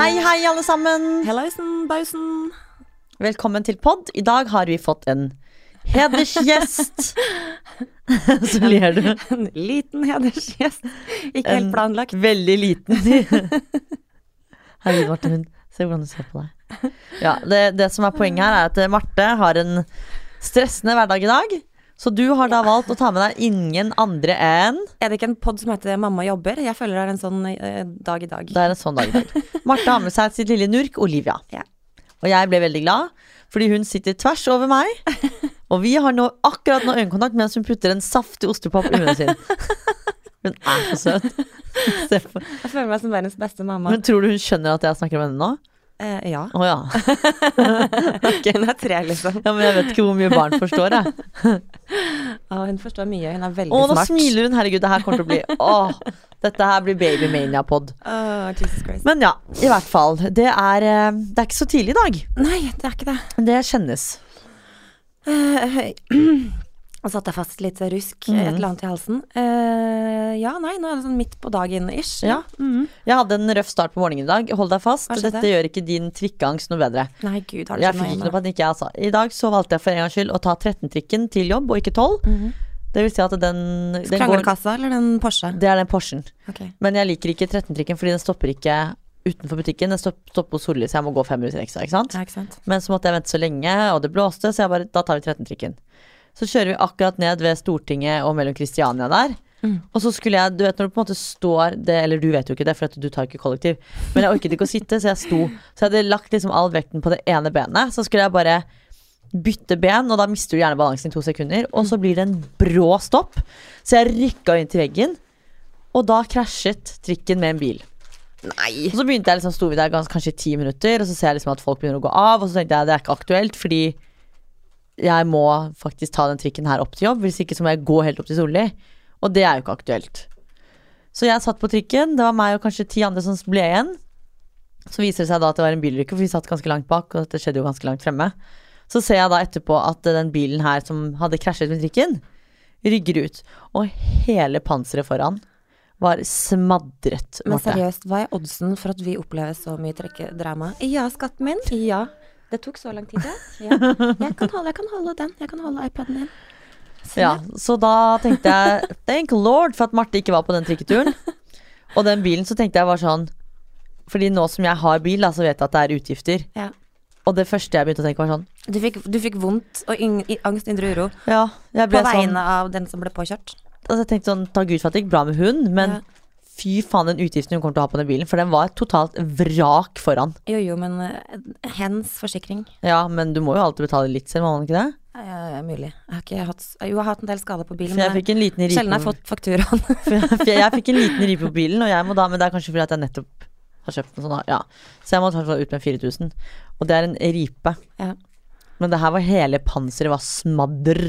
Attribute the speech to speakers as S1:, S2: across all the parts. S1: hei, alle sammen.
S2: Hellaisen, bausen.
S1: Velkommen til pod. I dag har vi fått en hedersgjest. Så ler du.
S2: En liten hedersgjest. Ikke
S1: En-
S2: helt planlagt.
S1: Veldig liten. Herregud, Marte, hun Se hvordan du ser på deg. Ja, det, det som er poenget her, er at eh, Marte har en stressende hverdag i dag. Så du har da valgt å ta med deg ingen andre enn
S2: Er det ikke en pod som heter Mamma jobber? Jeg føler det er en sånn eh, dag i dag.
S1: Det er en sånn dag i dag. Marte har med seg sitt lille nurk, Olivia.
S2: Ja.
S1: Og jeg ble veldig glad, fordi hun sitter tvers over meg. Og vi har nå akkurat nå øyekontakt mens hun putter en saftig ostepop i munnen sin. Hun er så søt. Se på-
S2: Jeg føler meg som verdens beste mamma.
S1: Men tror du hun skjønner at jeg snakker om henne nå?
S2: Eh, ja.
S1: Å ja.
S2: Hun er tre, liksom.
S1: ja. Men jeg vet ikke hvor mye barn forstår, jeg.
S2: Og hun forstår mye. Hun er veldig
S1: Å, nå
S2: smart.
S1: smiler hun. Herregud, det her kommer til å bli Åh, dette her blir Babymania-pod.
S2: Åh, Jesus Christ.
S1: Men ja, i hvert fall. Det er, eh, det er ikke så tidlig i dag.
S2: Nei, det er ikke det.
S1: Det kjennes.
S2: Eh, høy. Og satte jeg fast litt rusk, et
S1: Mhm.
S2: eller annet i halsen. Eh, ja, nei, nå er det sånn midt på dagen-ish.
S1: Ja. Jeg hadde en røff start på morgenen i dag. Hold deg fast.
S2: Hva skjedde?
S1: Dette gjør ikke din trikkeangst noe bedre.
S2: Nei, gud, har det
S1: Jeg
S2: skjedd
S1: fikk ikke noe
S2: ennå?
S1: panikk, jeg altså. I dag så valgte jeg for en gangs skyld å ta 13-trikken til jobb, og ikke 12.
S2: Mhm.
S1: Det vil si at den, den går
S2: Kranglekassa eller den Porsche?
S1: Det er den Porschen.
S2: Ok.
S1: Men jeg liker ikke 13-trikken, fordi den stopper ikke utenfor butikken. Den stopp- stopper hos Solli, så jeg må gå fem minutter ekstra, ikke sant.
S2: Ja, ikke sant?
S1: Men så måtte jeg vente så lenge, og det blåste, så jeg bare Da tar vi 13-trikken. Så kjører vi akkurat ned ved Stortinget og mellom Kristiania der. Og så skulle jeg, du vet når du på en måte står det, Eller du vet jo ikke det, for at du tar ikke kollektiv. Men jeg orket ikke å sitte, så jeg sto. Så jeg hadde lagt liksom all vekten på det ene benet. Så skulle jeg bare bytte ben, og da mister du gjerne balansen i to sekunder. Og så blir det en brå stopp. Så jeg rykka inn til veggen, og da krasjet trikken med en bil.
S2: Nei!
S1: Og så begynte jeg liksom, sto vi der gans- kanskje i ti minutter, og så ser jeg liksom at folk begynner å gå av, og så tenkte jeg det er ikke aktuelt, fordi jeg må faktisk ta den trikken her opp til jobb, hvis ikke så må jeg gå helt opp til Solli, og det er jo ikke aktuelt. Så jeg satt på trikken, det var meg og kanskje ti andre som ble igjen. Så viser det seg da at det var en bilulykke, for vi satt ganske langt bak, og det skjedde jo ganske langt fremme. Så ser jeg da etterpå at den bilen her som hadde krasjet med trikken, rygger ut, og hele panseret foran var smadret.
S2: Men
S1: Marte.
S2: seriøst, hva er oddsen for at vi opplever så mye trekkedrama? Ja, skatten min. Ja. Det tok så lang tid, ja. ja. Jeg, kan holde, jeg kan holde den. Jeg kan holde iPaden din. Sånn,
S1: Ja, så da tenkte jeg Thank lord for at Marte ikke var på den trikketuren. Og den bilen så tenkte jeg var sånn Fordi nå som jeg har bil, da, så vet jeg at det er utgifter.
S2: ja.
S1: Og det første jeg begynte å tenke, var sånn
S2: Du, fikk, du fikk vondt og yng, i, angst, indre uro
S1: Ja, jeg
S2: på
S1: ble
S2: vegne
S1: sånn
S2: av den som ble påkjørt.
S1: altså Jeg tenkte sånn Takk Gud for at det gikk bra med hun, men
S2: Ja.
S1: fy faen den utgiften hun kommer til å ha på den bilen. For den var et totalt vrak foran.
S2: Jo, jo, men eh, hens forsikring
S1: Ja, men du må jo alltid betale litt selv, må man ikke det?
S2: er mulig. Jeg har ikke hatt Jo, jeg har hatt en del skader på bilen,
S1: For jeg
S2: men
S1: fikk en liten ripe
S2: sjelden har jeg fått fakturaen.
S1: for jeg, for jeg fikk en liten ripe på bilen, og jeg må da, men det er kanskje fordi at jeg nettopp har kjøpt en sånn, ja. Så jeg må ta ut med 4000. Og det er en ripe.
S2: Ja.
S1: Men det her var hele panseret var smadder.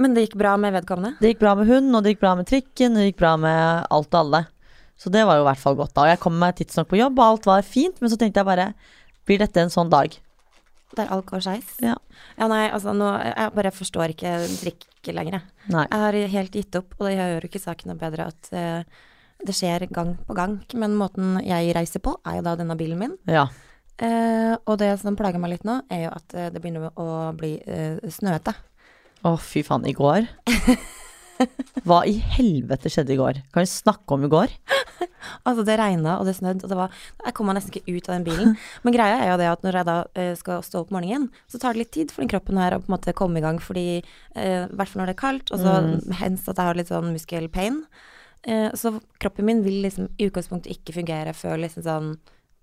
S2: Men det gikk bra med vedkommende?
S1: Det gikk bra med hund, og det gikk bra med trikken, og det gikk bra med alt og alle. Så det var jo i hvert fall godt da. Og jeg kom meg tidsnok på jobb, og alt var fint, men så tenkte jeg bare, blir dette en sånn dag?
S2: Der alt går skeis?
S1: Ja.
S2: Ja, nei, altså nå Jeg bare forstår ikke drikke lenger, jeg.
S1: Nei.
S2: Jeg har helt gitt opp, og det gjør jo ikke saken noe bedre at eh, det skjer gang på gang. Men måten jeg reiser på, er jo da denne bilen min.
S1: Ja.
S2: Eh, og det som plager meg litt nå, er jo at eh, det begynner å bli eh, snøete.
S1: Å fy faen, i går. Hva i helvete skjedde i går? Kan vi snakke om i går?
S2: Altså, det regna og det snødde, og det var Jeg kom meg nesten ikke ut av den bilen. Men greia er jo det at når jeg da eh, skal stå opp morgenen, så tar det litt tid for den kroppen her å på en måte komme i gang, fordi eh, I hvert fall når det er kaldt, og så
S1: Mm.
S2: hens at jeg har litt sånn muskelpain. Eh, så kroppen min vil liksom i utgangspunktet ikke fungere før liksom sånn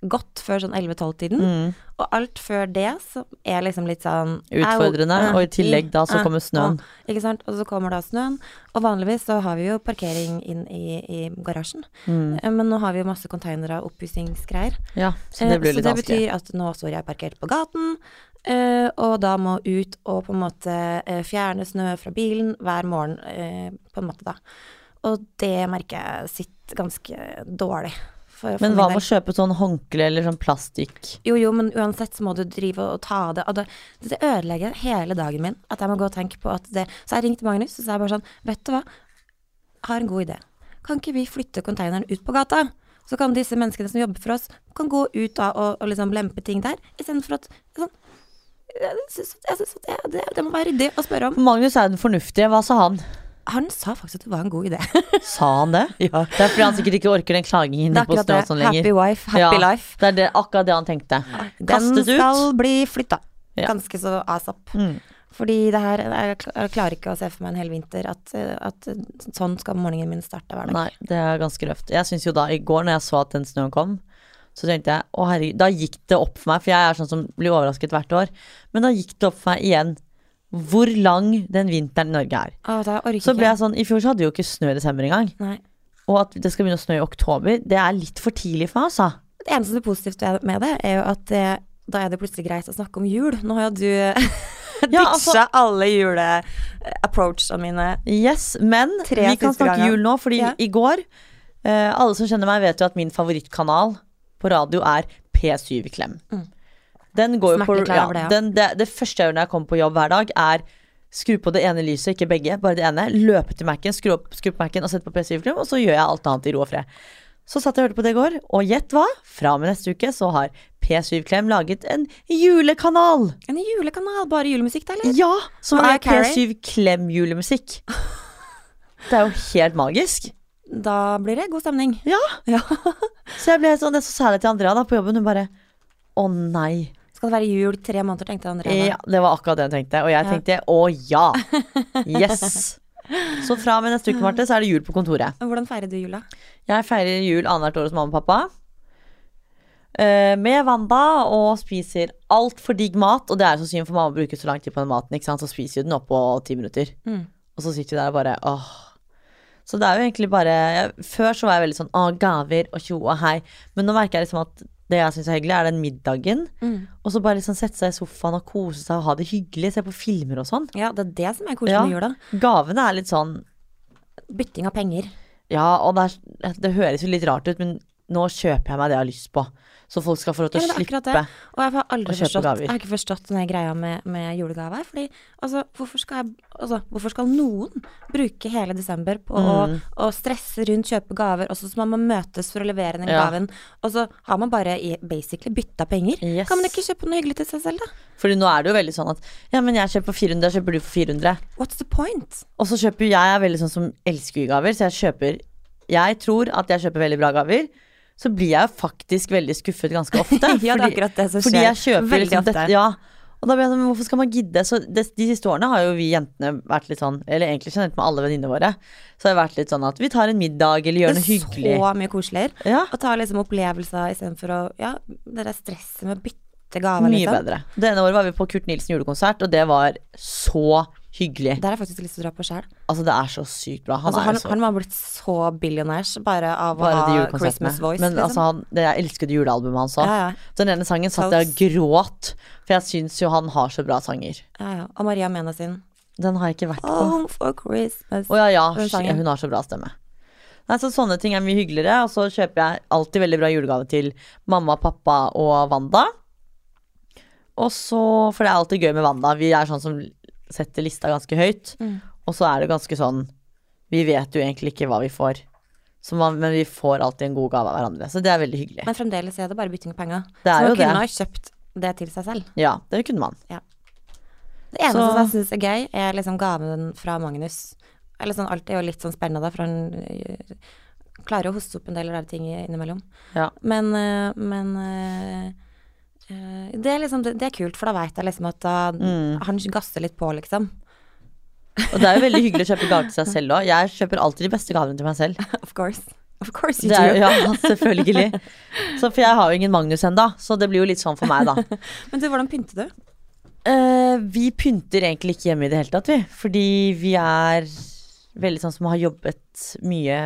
S2: godt før sånn 11-12-tiden.
S1: Mm.
S2: Og alt før det så er liksom litt sånn
S1: Utfordrende,
S2: au, eh,
S1: og i tillegg da så
S2: eh,
S1: kommer snøen.
S2: å, ikke sant. Og så kommer da snøen. Og vanligvis så har vi jo parkering inn i, i garasjen.
S1: Mm.
S2: Eh, Men nå har vi jo masse containere og oppussingsgreier.
S1: Ja, så det
S2: Eh,
S1: blir litt
S2: det
S1: vanskelig.
S2: betyr at nå står jeg parkert på gaten, eh, og da må ut og på en måte eh, fjerne snø fra bilen hver morgen, eh, på en måte da. Og det merker jeg sitter ganske dårlig. For, for
S1: Men
S2: min
S1: hva
S2: del.
S1: med å kjøpe sånn håndkle eller sånn plastikk?
S2: Jo, jo, men uansett så må du drive og ta av det. Og det, det ødelegger hele dagen min at jeg må gå og tenke på at det Så jeg ringte Magnus, og så er jeg bare sånn Vet du hva, har en god idé. Kan ikke vi flytte konteineren ut på gata? Så kan disse menneskene som jobber for oss, kan gå ut da og, og liksom lempe ting der, istedenfor at sånn, Jeg syns jeg syns at det, det, det må være ryddig å spørre om.
S1: Magnus er den fornuftige. Hva sa han?
S2: Han sa faktisk at det var en god idé.
S1: Sa han det? Det er fordi han sikkert ikke orker den klagingen
S2: Det er
S1: på
S2: akkurat det.
S1: Snøhson sånn lenger.
S2: Happy wife, happy
S1: Ja,
S2: life.
S1: Det er det, akkurat det han tenkte.
S2: Den
S1: Kastet
S2: skal
S1: ut.
S2: bli flytta.
S1: Ja.
S2: Ganske så asap.
S1: Mm.
S2: Fordi det her Jeg kl- jeg klarer ikke å se for meg en hel vinter at, eh, at sånn skal morgenen min starte hver dag.
S1: Nei, det er ganske røft. Jeg synes jo da, i går når jeg så at den snøen kom, så tenkte jeg, å herregud, da gikk det opp for meg, for jeg er sånn som blir overrasket hvert år, men da gikk det opp for meg igjen hvor lang den vinteren i Norge er.
S2: Å, da orker
S1: Så
S2: ikke
S1: ble jeg sånn, i fjor så hadde vi jo ikke snø i desember engang,
S2: Nei.
S1: og at det skal begynne å snø i oktober, det er litt for tidlig for meg, altså.
S2: Det eneste positivt jeg- med det, er jo at eh, da er det plutselig greit å snakke om jul. Nå har jo du ditcha
S1: Ja, altså-
S2: alle jule-approachene mine.
S1: Yes, men
S2: Tre
S1: vi kan
S2: siste
S1: snakke
S2: ganger.
S1: jul nå, fordi
S2: Ja.
S1: i går eh, Alle som kjenner meg, vet jo at min favorittkanal på radio er P7 Klem.
S2: Mm.
S1: Den går jo på
S2: Smertelig klar
S1: ja,
S2: over det, ja.
S1: den, det, det første jeg gjør når jeg kommer på jobb hver dag, er skru på det ene lyset, ikke begge, bare det ene. Løpe til Mac-en, skru, opp- skru på Mac-en og sette på P7 Klem, og så gjør jeg alt annet i ro og fred. Så satt jeg og hørte på det i går, og gjett hva? Fra og med neste uke så har P7 Klem laget en julekanal!
S2: En julekanal, bare julemusikk, da, eller?
S1: Ja, som
S2: Mariah
S1: er
S2: Carey.
S1: P7 Klem julemusikk. Det er jo helt magisk.
S2: Da blir det god stemning.
S1: Ja.
S2: Ja.
S1: Så jeg ble helt sånn, jeg så særlig til Andrea da på jobben, hun bare Å nei.
S2: Skal det være jul tre måneder, tenkte Andrea.
S1: Ja, det var akkurat det hun tenkte. Og jeg
S2: Ja.
S1: tenkte å ja. Yes. Så fra og med neste uke, Marte, så er det jul på kontoret.
S2: Hvordan feirer du jula?
S1: Jeg feirer jul annethvert år hos mamma og pappa. eh, Med Wanda og spiser altfor digg mat. Og det er så synd, for mamma bruker så lang tid på den maten. Ikke sant? Så spiser jo den oppå ti minutter.
S2: Mm.
S1: Og så sitter vi der og bare åh. Så det er jo egentlig bare jeg, Før så var jeg veldig sånn åh, gaver og tjo og hei. Men nå merker jeg liksom at det jeg syns er hyggelig, er den middagen.
S2: Mm.
S1: Og så bare liksom sette seg i sofaen og kose seg og ha det hyggelig. Se på filmer og sånn.
S2: Ja, det er det som er koselig
S1: Ja.
S2: med jula.
S1: Gavene er litt sånn
S2: Bytting av penger.
S1: Ja, og det, er, det høres jo litt rart ut, men nå kjøper jeg meg det jeg har lyst på. Så folk skal få lov til å
S2: Ja, men det er akkurat
S1: slippe.
S2: det. Og jeg har aldri
S1: Og kjøpe
S2: forstått,
S1: gaver.
S2: jeg har ikke forstått denne greia med, med julegaver. Fordi altså hvorfor, skal jeg, altså, hvorfor skal noen bruke hele desember på
S1: Mm.
S2: å, å stresse rundt, kjøpe gaver, og så skal man møtes for å levere den
S1: Ja.
S2: gaven, og så har man bare i- basically bytta penger?
S1: Yes.
S2: Kan man ikke kjøpe noe hyggelig til seg selv, da?
S1: Fordi nå er det jo veldig sånn at ja, men jeg kjøper for 400, jeg kjøper du for 400.
S2: What's the point?
S1: Og så kjøper jeg, jeg er veldig sånn som elsker gaver, så jeg kjøper Jeg tror at jeg kjøper veldig bra gaver. Så blir jeg jo faktisk veldig skuffet ganske ofte.
S2: Ja, det er akkurat det som
S1: fordi jeg
S2: skjer.
S1: kjøper
S2: Veldig
S1: liksom
S2: ofte.
S1: dette, ja. Og da blir jeg sånn, men hvorfor skal man gidde? Så det, de siste årene har jo vi jentene vært litt sånn, eller egentlig kjent med alle venninnene våre, så har det vært litt sånn at vi tar en middag eller gjør
S2: Det
S1: noe
S2: er
S1: hyggelig.
S2: så mye koseligere.
S1: Ja,
S2: Å ta liksom opplevelser istedenfor å Ja, det der stresset med å bytte gaver,
S1: mye
S2: liksom.
S1: bedre. Det ene året var vi på Kurt Nilsen julekonsert, og det var så hyggelig.
S2: Der har jeg faktisk lyst til å dra på sjøl.
S1: Altså, det er så sykt bra. Han
S2: Altså,
S1: er
S2: han,
S1: jo så
S2: han var blitt så billionaires bare av
S1: Bare de
S2: å ha
S1: julekonsertene.
S2: Christmas Voice.
S1: Men
S2: liksom.
S1: altså, han, det, jeg elsker det julealbumet hans òg.
S2: Ja, ja.
S1: Den ene sangen satt jeg og gråt, for jeg syns jo han har så bra sanger.
S2: ja, ja. Og Maria Mena sin
S1: Den har jeg ikke vært på.
S2: Home for Christmas.
S1: Å ja, ja,
S2: Den sangen.
S1: ja, hun har så bra stemme. Nei, så Sånne ting er mye hyggeligere, og så kjøper jeg alltid veldig bra julegave til mamma, pappa og Wanda. Og så, For det er alltid gøy med Wanda. Vi er sånn som setter lista ganske høyt.
S2: Mm.
S1: Og så er det ganske sånn Vi vet jo egentlig ikke hva vi får, så man, men vi får alltid en god gave av hverandre. Så det er veldig hyggelig.
S2: Men fremdeles er det bare bytting av penger.
S1: Det
S2: Så
S1: er
S2: man
S1: jo det.
S2: kunne ha kjøpt det til seg selv.
S1: Ja, det kunne man.
S2: Det eneste
S1: Så-
S2: som jeg syns er gøy, er liksom gaven fra Magnus. Eller sånn, alt er jo litt sånn spennende, da, for han øh, klarer jo å hoste opp en del rare ting innimellom.
S1: Ja.
S2: Men, øh, men øh, øh, det, er liksom, det, det er kult, for da veit jeg liksom at da,
S1: Mm.
S2: han gasser litt på, liksom.
S1: Og det er jo veldig hyggelig å kjøpe gaver til seg selv òg. Jeg kjøper alltid de beste gavene til meg selv.
S2: Of course. Of course you
S1: Det er,
S2: do.
S1: jo- ja, selvfølgelig. Så, for jeg har jo ingen Magnus ennå, så det blir jo litt sånn for meg, da.
S2: Men du, hvordan pynter du?
S1: Eh, vi pynter egentlig ikke hjemme i det hele tatt, vi. Fordi vi er veldig sånn som har jobbet mye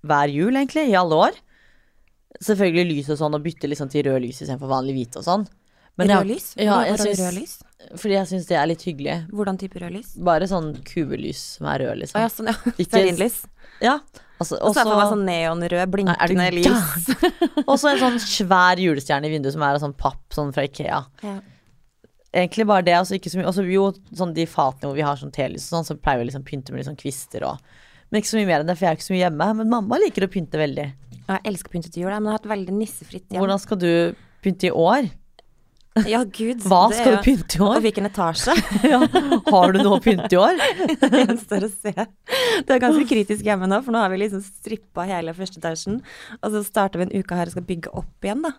S1: hver jul, egentlig, i alle år. Selvfølgelig lys og sånn, og bytter liksom til rød lys istedenfor vanlig hvit og sånn. Men
S2: rød
S1: jeg-
S2: lys?
S1: Ja,
S2: Hva-
S1: jeg
S2: hva er
S1: syns-
S2: rød lys?
S1: Fordi jeg syns det er litt hyggelig.
S2: Hvordan type rød lys?
S1: Bare sånn kubelys som er rød, liksom.
S2: Å ja, sånn, ja.
S1: Ikke-
S2: Stearinlys.
S1: Ja, altså,
S2: Og så er det for meg
S1: også-
S2: sånn neonrød,
S1: Nei, er du
S2: blinkende lys.
S1: Og så en sånn svær julestjerne i vinduet som er av sånn papp sånn fra Ikea.
S2: Ja.
S1: Egentlig bare altså, det. Og så ikke så mye. Og så jo, sånn de fatene hvor vi har sånn telys og sånn, så pleier vi liksom å pynte med litt sånn kvister og Men ikke så mye mer enn det, for jeg er ikke så mye hjemme. Men mamma liker å pynte veldig.
S2: Og jeg elsker pyntet jul, men jeg har et veldig nissefritt hjem.
S1: Hvordan skal du pynte i år?
S2: Ja, gud.
S1: Hva
S2: det er
S1: skal
S2: jo-
S1: du pynte i
S2: Og
S1: år?
S2: hvilken etasje.
S1: Ja. Har du noe å pynte i år?
S2: Det gjenstår å se. Det er ganske kritisk hjemme nå, for nå har vi liksom strippa hele første etasjen. Og så starter vi en uke her og skal bygge opp igjen, da.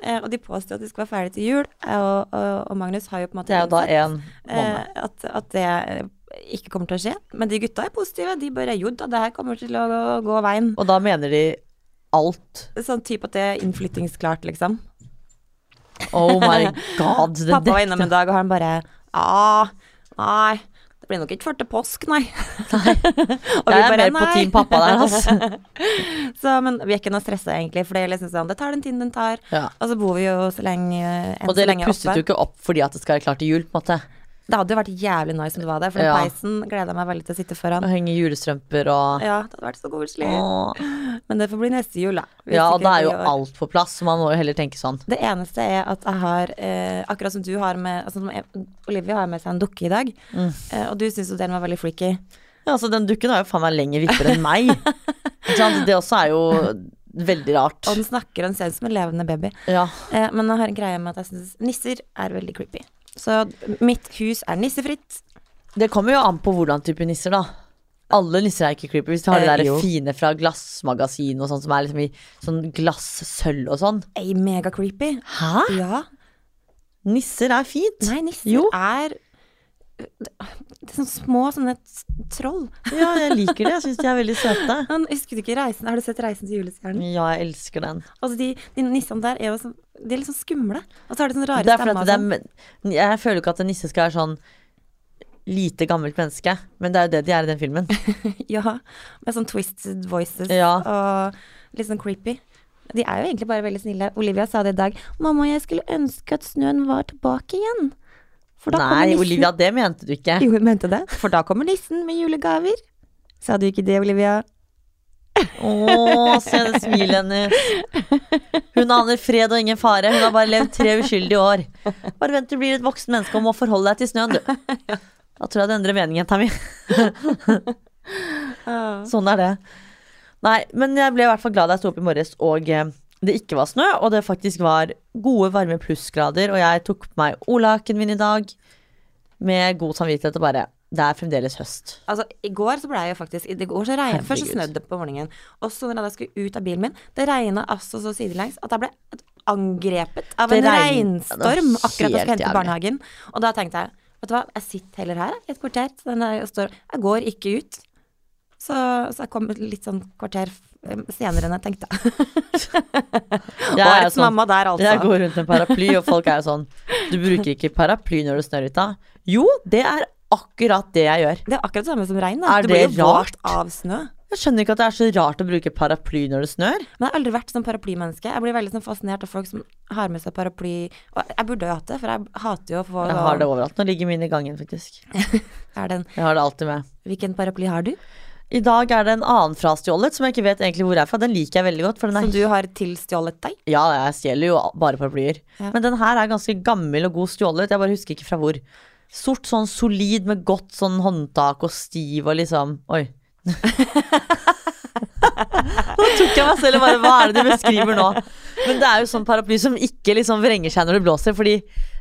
S2: Eh, og de påstår at de skal være ferdig til jul, eh, og, og, og Magnus har jo på en måte
S1: Det er jo da
S2: innsett,
S1: en måned.
S2: eh, at, at det eh, ikke kommer til å skje. Men de gutta er positive. De bare jo da, det her kommer til å gå- gå veien.
S1: Og da mener de alt.
S2: Sånn type at det er innflyttingsklart, liksom.
S1: Oh my god. Altså, Det
S2: Pappa var
S1: dekket-
S2: innom en dag, og han bare Ja, nei. Det blir nok ikke før til påsk, nei. Og vi
S1: Jeg er mer
S2: bare,
S1: på
S2: «Nei».
S1: team pappa der, altså.
S2: Så, men vi er ikke noe stressa, egentlig, for det er liksom sånn Det tar den tiden den tar.
S1: Ja.
S2: Og så bor vi jo så lenge enn
S1: Og
S2: så
S1: dere
S2: lenge
S1: pustet jo
S2: oppe.
S1: ikke opp fordi at det skal være klart til jul, på en måte.
S2: Det hadde jo vært jævlig nice om det var det, for den
S1: Ja.
S2: peisen gleda jeg meg veldig til å sitte
S1: Å
S2: foran.
S1: henge i julestrømper og
S2: Ja, det hadde vært så koselig.
S1: Åh.
S2: Men det får bli neste jul, da. Hvis
S1: Ja, og
S2: ikke
S1: da er
S2: det
S1: jo
S2: blir i år.
S1: alt på plass, så man må jo heller tenke sånn.
S2: Det eneste er at jeg har, eh, akkurat som du har med altså, som jeg- Olivia har med seg en dukke i dag,
S1: Mm.
S2: eh, og du syns jo den var veldig freaky.
S1: Ja, altså Den dukken har jo faen meg lenger vipper enn meg. Ikke sant? Det også er jo veldig rart.
S2: Og den snakker, og den ser ut som en levende baby.
S1: Ja,
S2: Eh, men jeg har en greie med at jeg syns nisser er veldig creepy. Så mitt hus er nissefritt.
S1: Det kommer jo an på hvordan type nisser, da. Alle nisser er ikke creepy. Hvis du har de
S2: Eh,
S1: der
S2: jo.
S1: fine fra glassmagasin og sånn, som er liksom i sånn glassølv og sånn.
S2: Ei, mega creepy.
S1: Hæ?
S2: Ja.
S1: Nisser er fint.
S2: Nei, nisser
S1: Jo.
S2: er det er sånne små sånne s- troll.
S1: Ja, jeg liker det. Jeg syns de er veldig søte.
S2: Men husker du ikke reisen? Har du sett 'Reisen til julestjernen'?
S1: Ja, jeg elsker den.
S2: Altså, de, de nissene der er jo sånn De er litt sånn skumle. Og så har de sånne rare
S1: Det er fordi
S2: stemmer.
S1: at
S2: og
S1: det
S2: sånn.
S1: er, jeg føler jo ikke at en nisse skal være sånn lite gammelt menneske, men det er jo det de er i den filmen.
S2: Ja, med sånn twisted voices
S1: Ja.
S2: og litt sånn creepy. De er jo egentlig bare veldig snille. Olivia sa det i dag. 'Mamma, jeg skulle ønske at snøen var tilbake igjen.' For da kommer
S1: Nei,
S2: nissen.
S1: Olivia, det mente du ikke.
S2: Jo, hun mente det. For da kommer nissen med julegaver. Sa du ikke det, Olivia?
S1: Å, se det smilet hennes. Hun aner fred og ingen fare. Hun har bare levd tre uskyldige år. Bare vent til du blir et voksen menneske og må forholde deg til snøen, du. Da tror jeg det endrer meningen, Tammy. Sånn er det. Nei, men jeg ble i hvert fall glad da jeg sto opp i morges og eh, det ikke var snø, og det faktisk var gode, varme plussgrader, og jeg tok på meg olaken min i dag med god samvittighet og bare Det er fremdeles høst.
S2: Altså, I går så ble jeg jo faktisk i går så regnet, Først så
S1: Herregud.
S2: snødde det på morgenen. Og så når jeg da skulle ut av bilen min, det regna altså så sidelengs at jeg ble angrepet av
S1: Det
S2: en
S1: regn- Ja, det
S2: regnstorm
S1: var
S2: akkurat da jeg skulle
S1: helt
S2: hente
S1: jævlig.
S2: barnehagen. Og da tenkte jeg vet du hva, jeg sitter heller her jeg, i et kvarter. Så den er, står, jeg går ikke ut. Så, så jeg kom litt sånn kvarter eh, senere enn jeg tenkte.
S1: Jeg er
S2: Årets
S1: sånn-
S2: mamma der, altså.
S1: Jeg går rundt med paraply, og folk er jo sånn Du bruker ikke paraply når det snør ute. Jo, det er akkurat det jeg gjør.
S2: Det er akkurat det samme som
S1: Er
S2: regn. Da. Du blir
S1: det
S2: jo våt
S1: rart?
S2: av snø.
S1: Jeg skjønner ikke at det er så rart å bruke paraply når det snør.
S2: Men jeg har aldri vært sånn paraplymenneske. Jeg blir veldig sånn fascinert av folk som har med seg paraply. Og jeg burde jo hatt det, for jeg hater jo å få
S1: Jeg har det overalt. Nå ligger min i gangen, faktisk.
S2: Er det en,
S1: Jeg har det alltid med.
S2: Hvilken paraply har du?
S1: I dag er det en annen frastjålet som jeg ikke vet egentlig hvor er fra. Den liker jeg veldig godt. For den
S2: Som
S1: er
S2: du har tilstjålet deg?
S1: Ja, jeg stjeler jo bare paraplyer.
S2: Ja.
S1: Men den her er ganske gammel og god stjålet. Jeg bare husker ikke fra hvor. Sort, sånn solid med godt sånn håndtak og stiv og liksom Oi. Nå tok jeg meg selv og bare Hva er det du beskriver nå? Men det er jo sånn paraply som ikke liksom vrenger seg når det blåser, fordi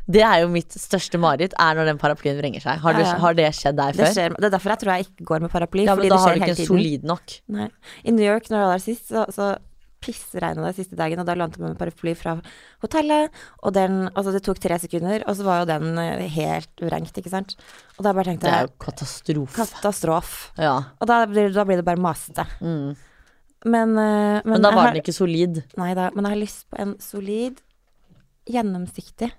S1: det er jo mitt største mareritt, er når den paraplyen vrenger seg. Har, du,
S2: Ja, ja.
S1: har det skjedd deg
S2: Det,
S1: før?
S2: skjer, det er derfor jeg tror jeg ikke går med paraply.
S1: ja,
S2: fordi
S1: men da
S2: det
S1: har
S2: skjer
S1: du ikke
S2: hele
S1: en
S2: tiden.
S1: solid nok.
S2: Nei. I New York, når jeg var der sist, så, så pissregna det siste dagen, og da lånte jeg meg en paraply fra hotellet, og den Altså, det tok tre sekunder, og så var jo den eh, helt vrengt, ikke sant. Og da bare
S1: Det
S2: tenkte
S1: er
S2: jeg
S1: jo katastrofe.
S2: katastrofe.
S1: Ja.
S2: Og da blir, da blir det bare masete. Men, eh,
S1: Mm. Men da
S2: jeg
S1: var
S2: har-
S1: den ikke solid.
S2: Nei da, men jeg har lyst på en solid, gjennomsiktig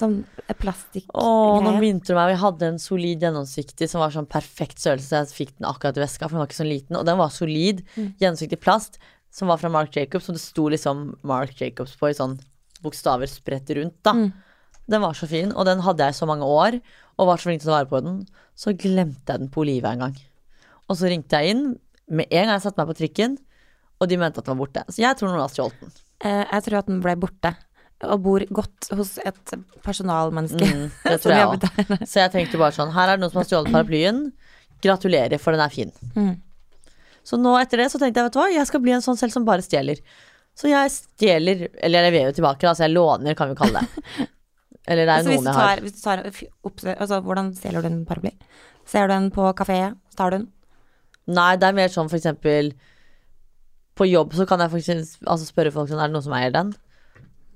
S2: sånn
S1: Å, nå
S2: plastikkgreie.
S1: begynte du meg. og Jeg hadde en solid gjennomsiktig som var sånn perfekt størrelse. Jeg fikk den akkurat i veska, for den var ikke så liten. Og den var solid, gjennomsiktig plast som var fra Mark Jacobs, og det sto liksom Mark Jacobs på i sånn bokstaver spredt rundt, da. Den var så fin, og den hadde jeg i så mange år, og var så flink til å ta vare på den. Så glemte jeg den på Olivia en gang. Og så ringte jeg inn med en gang jeg satte meg på trikken, og de mente at den var borte. Så jeg tror noen har stjålet den.
S2: Eh, jeg tror at den ble borte, og bor godt hos et personalmenneske.
S1: Mm, Det
S2: som
S1: tror jeg
S2: jobbet
S1: også.
S2: Mm.
S1: Så jeg tenkte bare sånn, her er det noen som har stjålet paraplyen. Gratulerer, for den er fin. Så nå etter det så tenkte jeg, vet du hva, jeg skal bli en sånn selv som bare stjeler. Så jeg stjeler, eller jeg lever jo tilbake, da, så jeg låner, kan vi kalle det. Eller det er jo
S2: Altså, hvis, du
S1: noen jeg har.
S2: tar, hvis du tar f- opp, altså, Hvordan stjeler du en paraply? Ser du en på kafé, så tar du den.
S1: Nei, det er mer sånn for eksempel På jobb så kan jeg faktisk altså, spørre folk sånn, er det noen som eier den?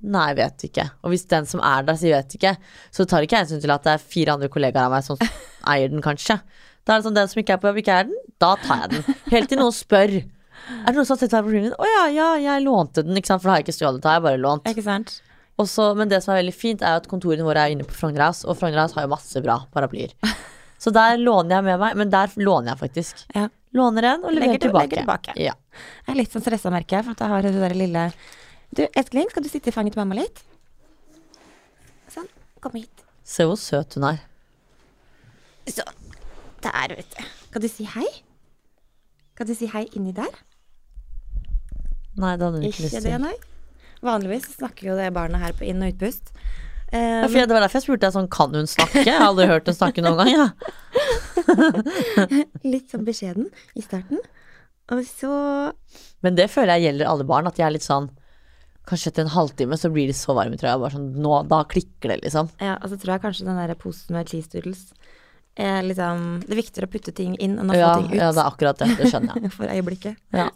S1: Nei, jeg vet ikke. Og hvis den som er der sier jeg vet ikke, så tar ikke jeg hensyn til at det er fire andre kollegaer av meg som eier den, kanskje. Da er det sånn, den som ikke er på jobb, ikke eier den, da tar jeg den. Helt til noen spør. Er det noen som har sett paraplyen din? Å ja, ja, jeg lånte den, ikke sant, for da har jeg ikke stjålet, da har jeg bare lånt.
S2: Ikke sant?
S1: Og så- men det som er veldig fint, er jo at kontorene våre er inne på Frogner House, og Frogner House har jo masse bra paraplyer. Så der låner jeg med meg, men der låner jeg faktisk.
S2: Ja.
S1: Låner en og leverer
S2: Legger til-
S1: tilbake.
S2: legger tilbake.
S1: Ja.
S2: Jeg er litt sånn stressa, merker jeg, for at jeg har det der lille Du, Eskling, skal du sitte i fanget til mamma litt? Sånn. Kom hit.
S1: Se hvor søt hun er.
S2: Sånn. Der, vet du. Kan du si hei? Kan du si hei inni der?
S1: Nei, det hadde hun ikke
S2: Ikke
S1: lyst
S2: det,
S1: til.
S2: nei. Vanligvis snakker jo det barnet her på inn- og utpust. Eh,
S1: Ja, for jeg- det var derfor jeg spurte deg sånn, kan hun snakke? Jeg har aldri hørt hun snakke noen gang. Ja.
S2: litt sånn beskjeden i starten. Og så
S1: Men det føler jeg gjelder alle barn, at jeg er litt sånn Kanskje etter en halvtime så blir de så varme i trøya. Bare sånn, nå, da klikker det, liksom.
S2: Ja, og så tror jeg kanskje den der posen med cheese doodles er liksom Det er viktigere å putte ting inn enn å
S1: Ja,
S2: få ting ut
S1: ja, det er akkurat det. Det skjønner jeg.
S2: for øyeblikket.
S1: Ja.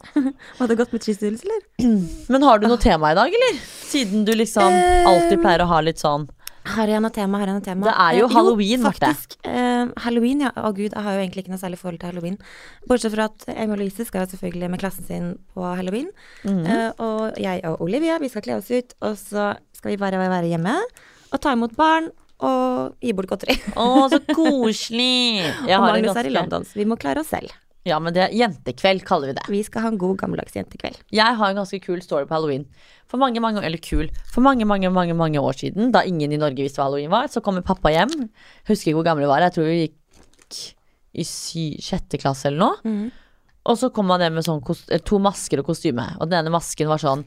S2: Var det godt med cheese doodles, eller?
S1: Men har du noe tema i dag, eller? Siden du liksom
S2: Eh.
S1: alltid pleier å ha litt sånn
S2: Har jeg noe tema, har jeg noe tema?
S1: Det er jo
S2: Eh,
S1: halloween, Marte.
S2: faktisk. Eh, halloween, ja. Å gud, jeg har jo egentlig ikke noe særlig forhold til halloween. Bortsett fra at Emil og Louise skal jo selvfølgelig med klassen sin på halloween.
S1: Mhm.
S2: Eh, og jeg og Olivia, vi skal kle oss ut, og så skal vi bare være hjemme og ta imot barn og gi bort godteri.
S1: Å, så koselig! Jeg
S2: Og
S1: har en
S2: Magnus er i
S1: ganske
S2: London, så vi må klare oss selv.
S1: Ja, men det er jentekveld, kaller vi det.
S2: Vi skal ha en god gammeldags jentekveld.
S1: Jeg har en ganske kul story på halloween. For mange, mange, eller kul For mange, mange, mange mange år siden, da ingen i Norge visste hva halloween var, så kommer pappa hjem. Jeg Husker ikke hvor gamle vi var. Jeg tror vi gikk i sy sjette klasse eller noe. Og så kom han hjem med sånn kos- eller to masker og kostyme. Og den ene masken var sånn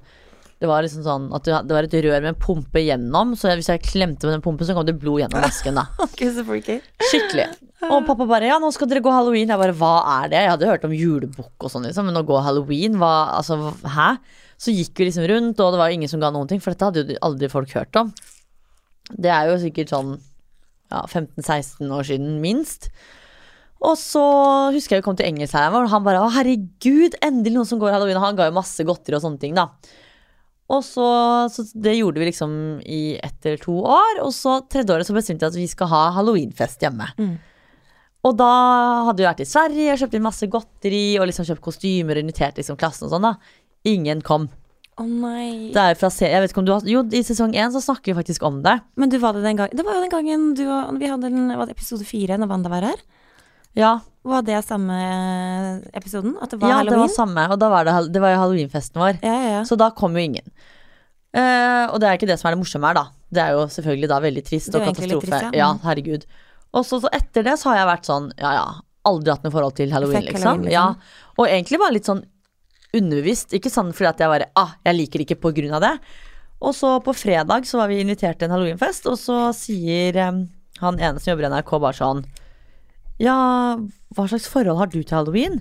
S1: Det var liksom sånn at du- det var et rør med en pumpe gjennom, så hvis jeg klemte med den pumpen, så kom det blod gjennom masken, da.
S2: Gud, så freaky.
S1: Skikkelig. Og pappa bare ja, nå skal dere gå halloween. Jeg bare hva er det? Jeg hadde hørt om julebukk og sånn, liksom, men å gå halloween, hva altså hæ? Så gikk vi liksom rundt, og det var jo ingen som ga noen ting, for dette hadde jo aldri folk hørt om. Det er jo sikkert sånn ja, 15-16 år siden, minst. Og så husker jeg vi kom til Engelsheimen, og han bare å herregud, endelig noen som går halloween. Og han ga jo masse godteri og sånne ting, da. Og så, så Det gjorde vi liksom i ett eller to år. Og så tredje året så bestemte jeg at vi skal ha halloweenfest hjemme.
S2: Mm.
S1: Og da hadde vi vært i Sverige og kjøpt inn masse godteri og liksom kjøpt kostymer og invitert liksom klassen og sånn. da Ingen kom.
S2: Å nei.
S1: Det er jo fra se jeg vet ikke om du har Jo, i sesong én så snakker vi faktisk om det.
S2: Men du var det den gangen Det var jo den gangen du og Vi hadde en, var det episode fire når Wanda var her.
S1: Ja,
S2: Var det samme episoden? At det var
S1: ja det var
S2: halloween?
S1: samme. Og da var det, hal- det var jo halloweenfesten vår.
S2: ja, ja, ja.
S1: Så da kom jo ingen. Eh, og det er ikke det som er det morsomme her, da. Det er jo selvfølgelig da veldig trist
S2: Det er
S1: og
S2: jo egentlig litt
S1: katastrofe.
S2: trist, ja. Mm.
S1: ja. herregud. Og så, så etter det så har jeg vært sånn, ja ja, aldri hatt noe forhold til halloween,
S2: Fuck
S1: liksom.
S2: halloween, liksom.
S1: Ja. Og egentlig bare litt sånn underbevisst. Ikke sånn fordi at jeg bare ah, jeg liker det ikke på grunn av det. Og så på fredag så var vi invitert til en halloweenfest, og så sier eh, han ene som jobber i NRK bare sånn Ja, hva slags forhold har du til halloween?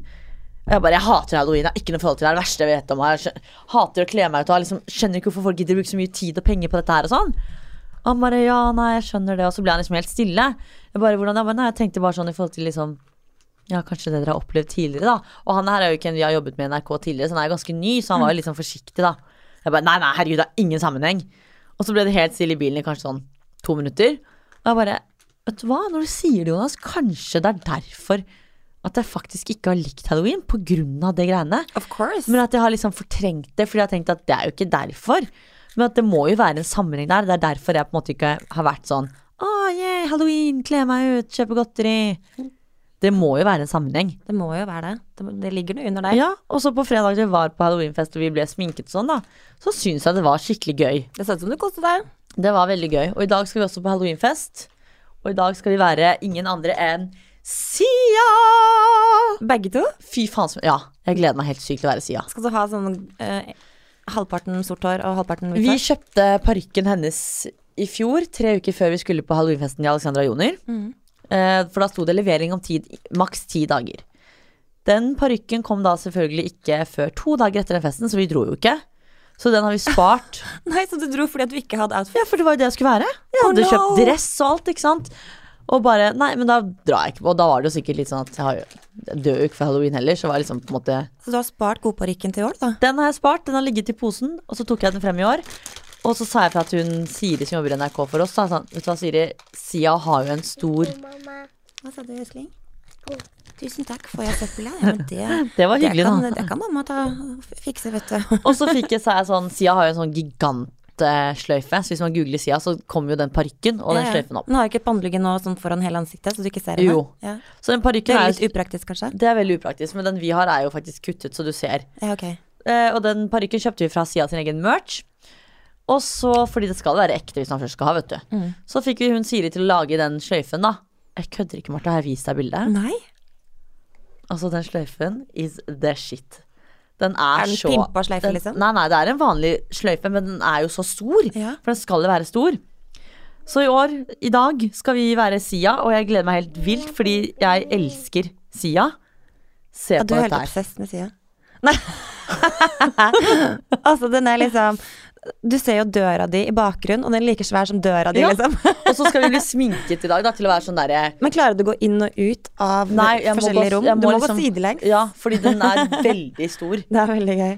S1: Og jeg bare, jeg hater halloween, jeg har ikke noe forhold til det, det er det verste jeg vet om. Jeg skjø- hater å kle meg ut og jeg liksom, skjønner ikke hvorfor folk gidder å bruke så mye tid og penger på dette her og sånn. Han bare, ja, nei, jeg skjønner det, og så ble han liksom helt stille. Jeg bare, hvordan da? Jeg bare, Nei, jeg tenkte bare sånn i forhold til liksom, ja, kanskje det dere har opplevd tidligere da. Og han her er jo ikke en vi har jobbet med i NRK tidligere, så han er jo ganske ny, så han var jo litt sånn forsiktig da. Jeg bare, nei, nei, herregud, det har ingen sammenheng. Og så ble det helt stille i bilen i kanskje sånn to minutter. Og jeg bare, vet du hva, når du sier det, Jonas, kanskje det er derfor at jeg faktisk ikke har likt halloween på grunn av det greiene.
S2: Of course.
S1: Men at jeg har liksom fortrengt det, fordi jeg har tenkt at det er jo ikke derfor. Men at det må jo være en sammenheng der. Det er derfor jeg på en måte ikke har vært sånn Å, yeah, halloween, kle meg ut, kjøpe godteri. Det må jo være en sammenheng.
S2: det må jo være det. det. Det ligger noe under der.
S1: Ja, Og så på fredag det var på halloweenfest og vi ble sminket og sånn, da, så syns jeg det var skikkelig gøy.
S2: Det så ut som du koste deg.
S1: Det var veldig gøy. Og i dag skal vi også på halloweenfest. Og i dag skal vi være ingen andre enn Sia!
S2: Begge to.
S1: Fy faen som Ja, jeg gleder meg helt sykt til å være Sia.
S2: Skal du ha sånn eh, halvparten sort hår og halvparten hvitt
S1: Vi
S2: hår?
S1: kjøpte parykken hennes i fjor, tre uker før vi skulle på halloweenfesten i Alexandra Joner. Eh, For da sto det levering om tid, maks ti dager. Den parykken kom da selvfølgelig ikke før to dager etter den festen, så vi dro jo ikke. Så den har vi spart.
S2: Nei, så du dro fordi at du ikke hadde outfit?
S1: Ja, for det var jo det jeg skulle være. Jeg
S2: Oh,
S1: hadde kjøpt
S2: no.
S1: dress og alt, ikke sant. Og bare Nei, men da drar jeg ikke. Og da var det jo sikkert litt sånn at jeg, har jo, jeg dør jo ikke for halloween heller, så var jeg liksom på en måte
S2: Så du har spart godparykken til i år, da?
S1: Den har jeg spart, den har ligget i posen, og så tok jeg den frem i år. Og så sa jeg fra til hun Siri som jobber i NRK for oss, da sånn, vet du hva Siri, Sia har jo en stor
S3: Mamma.
S2: Hva sa du, Øsling? Tusen takk, får jeg søppel? Ja, Ja, men det,
S1: Det var hyggelig,
S2: det, kan,
S1: da.
S2: det kan mamma ta, fikse, vet du.
S1: Og så fikk jeg, sa jeg sånn, Sia har jo en sånn gigantsløyfe, så hvis man googler Sia, så kommer jo den parykken og den
S2: Ja, ja.
S1: sløyfen opp.
S2: Den har ikke panneluggen nå sånn foran hele ansiktet, så du ikke ser henne?
S1: Jo.
S2: Ja.
S1: Så den
S2: Det
S1: parykken
S2: er
S1: er,
S2: litt
S1: jo-
S2: upraktisk, kanskje?
S1: det er veldig upraktisk, men den vi har er jo faktisk kuttet, så du ser.
S2: Ja, ok.
S1: Eh, og den parykken kjøpte vi fra Sia sin egen merch. Og så, fordi det skal være ekte hvis man først skal ha, vet du.
S2: Mm.
S1: Så fikk vi hun Siri til å lage den sløyfen, da. Jeg kødder ikke, Martha, har jeg vist deg bildet?
S2: Nei?
S1: Altså, den sløyfen is the shit. Den er,
S2: Er den
S1: så
S2: pimpa sløyfe,
S1: den-
S2: liksom?
S1: Nei, nei, det er en vanlig sløyfe, men den er jo så stor.
S2: Ja.
S1: For den skal jo være stor. Så i år, i dag, skal vi være Sia, og jeg gleder meg helt vilt, fordi jeg elsker Sia. Se
S2: Ja,
S1: på
S2: du er helt
S1: dette her.
S2: obsess med sida. Nei. altså, den er liksom Du ser jo døra di i bakgrunnen, og den er like svær som døra di,
S1: Ja.
S2: liksom.
S1: og så skal vi bli sminket i dag, da, til å være sånn derre
S2: Men klarer du å gå inn og ut av
S1: Nei, jeg må
S2: forskjellige
S1: gå-
S2: rom?
S1: jeg må
S2: du må
S1: liksom-
S2: gå sidelengs.
S1: Ja, fordi den er veldig stor.
S2: Det er veldig gøy.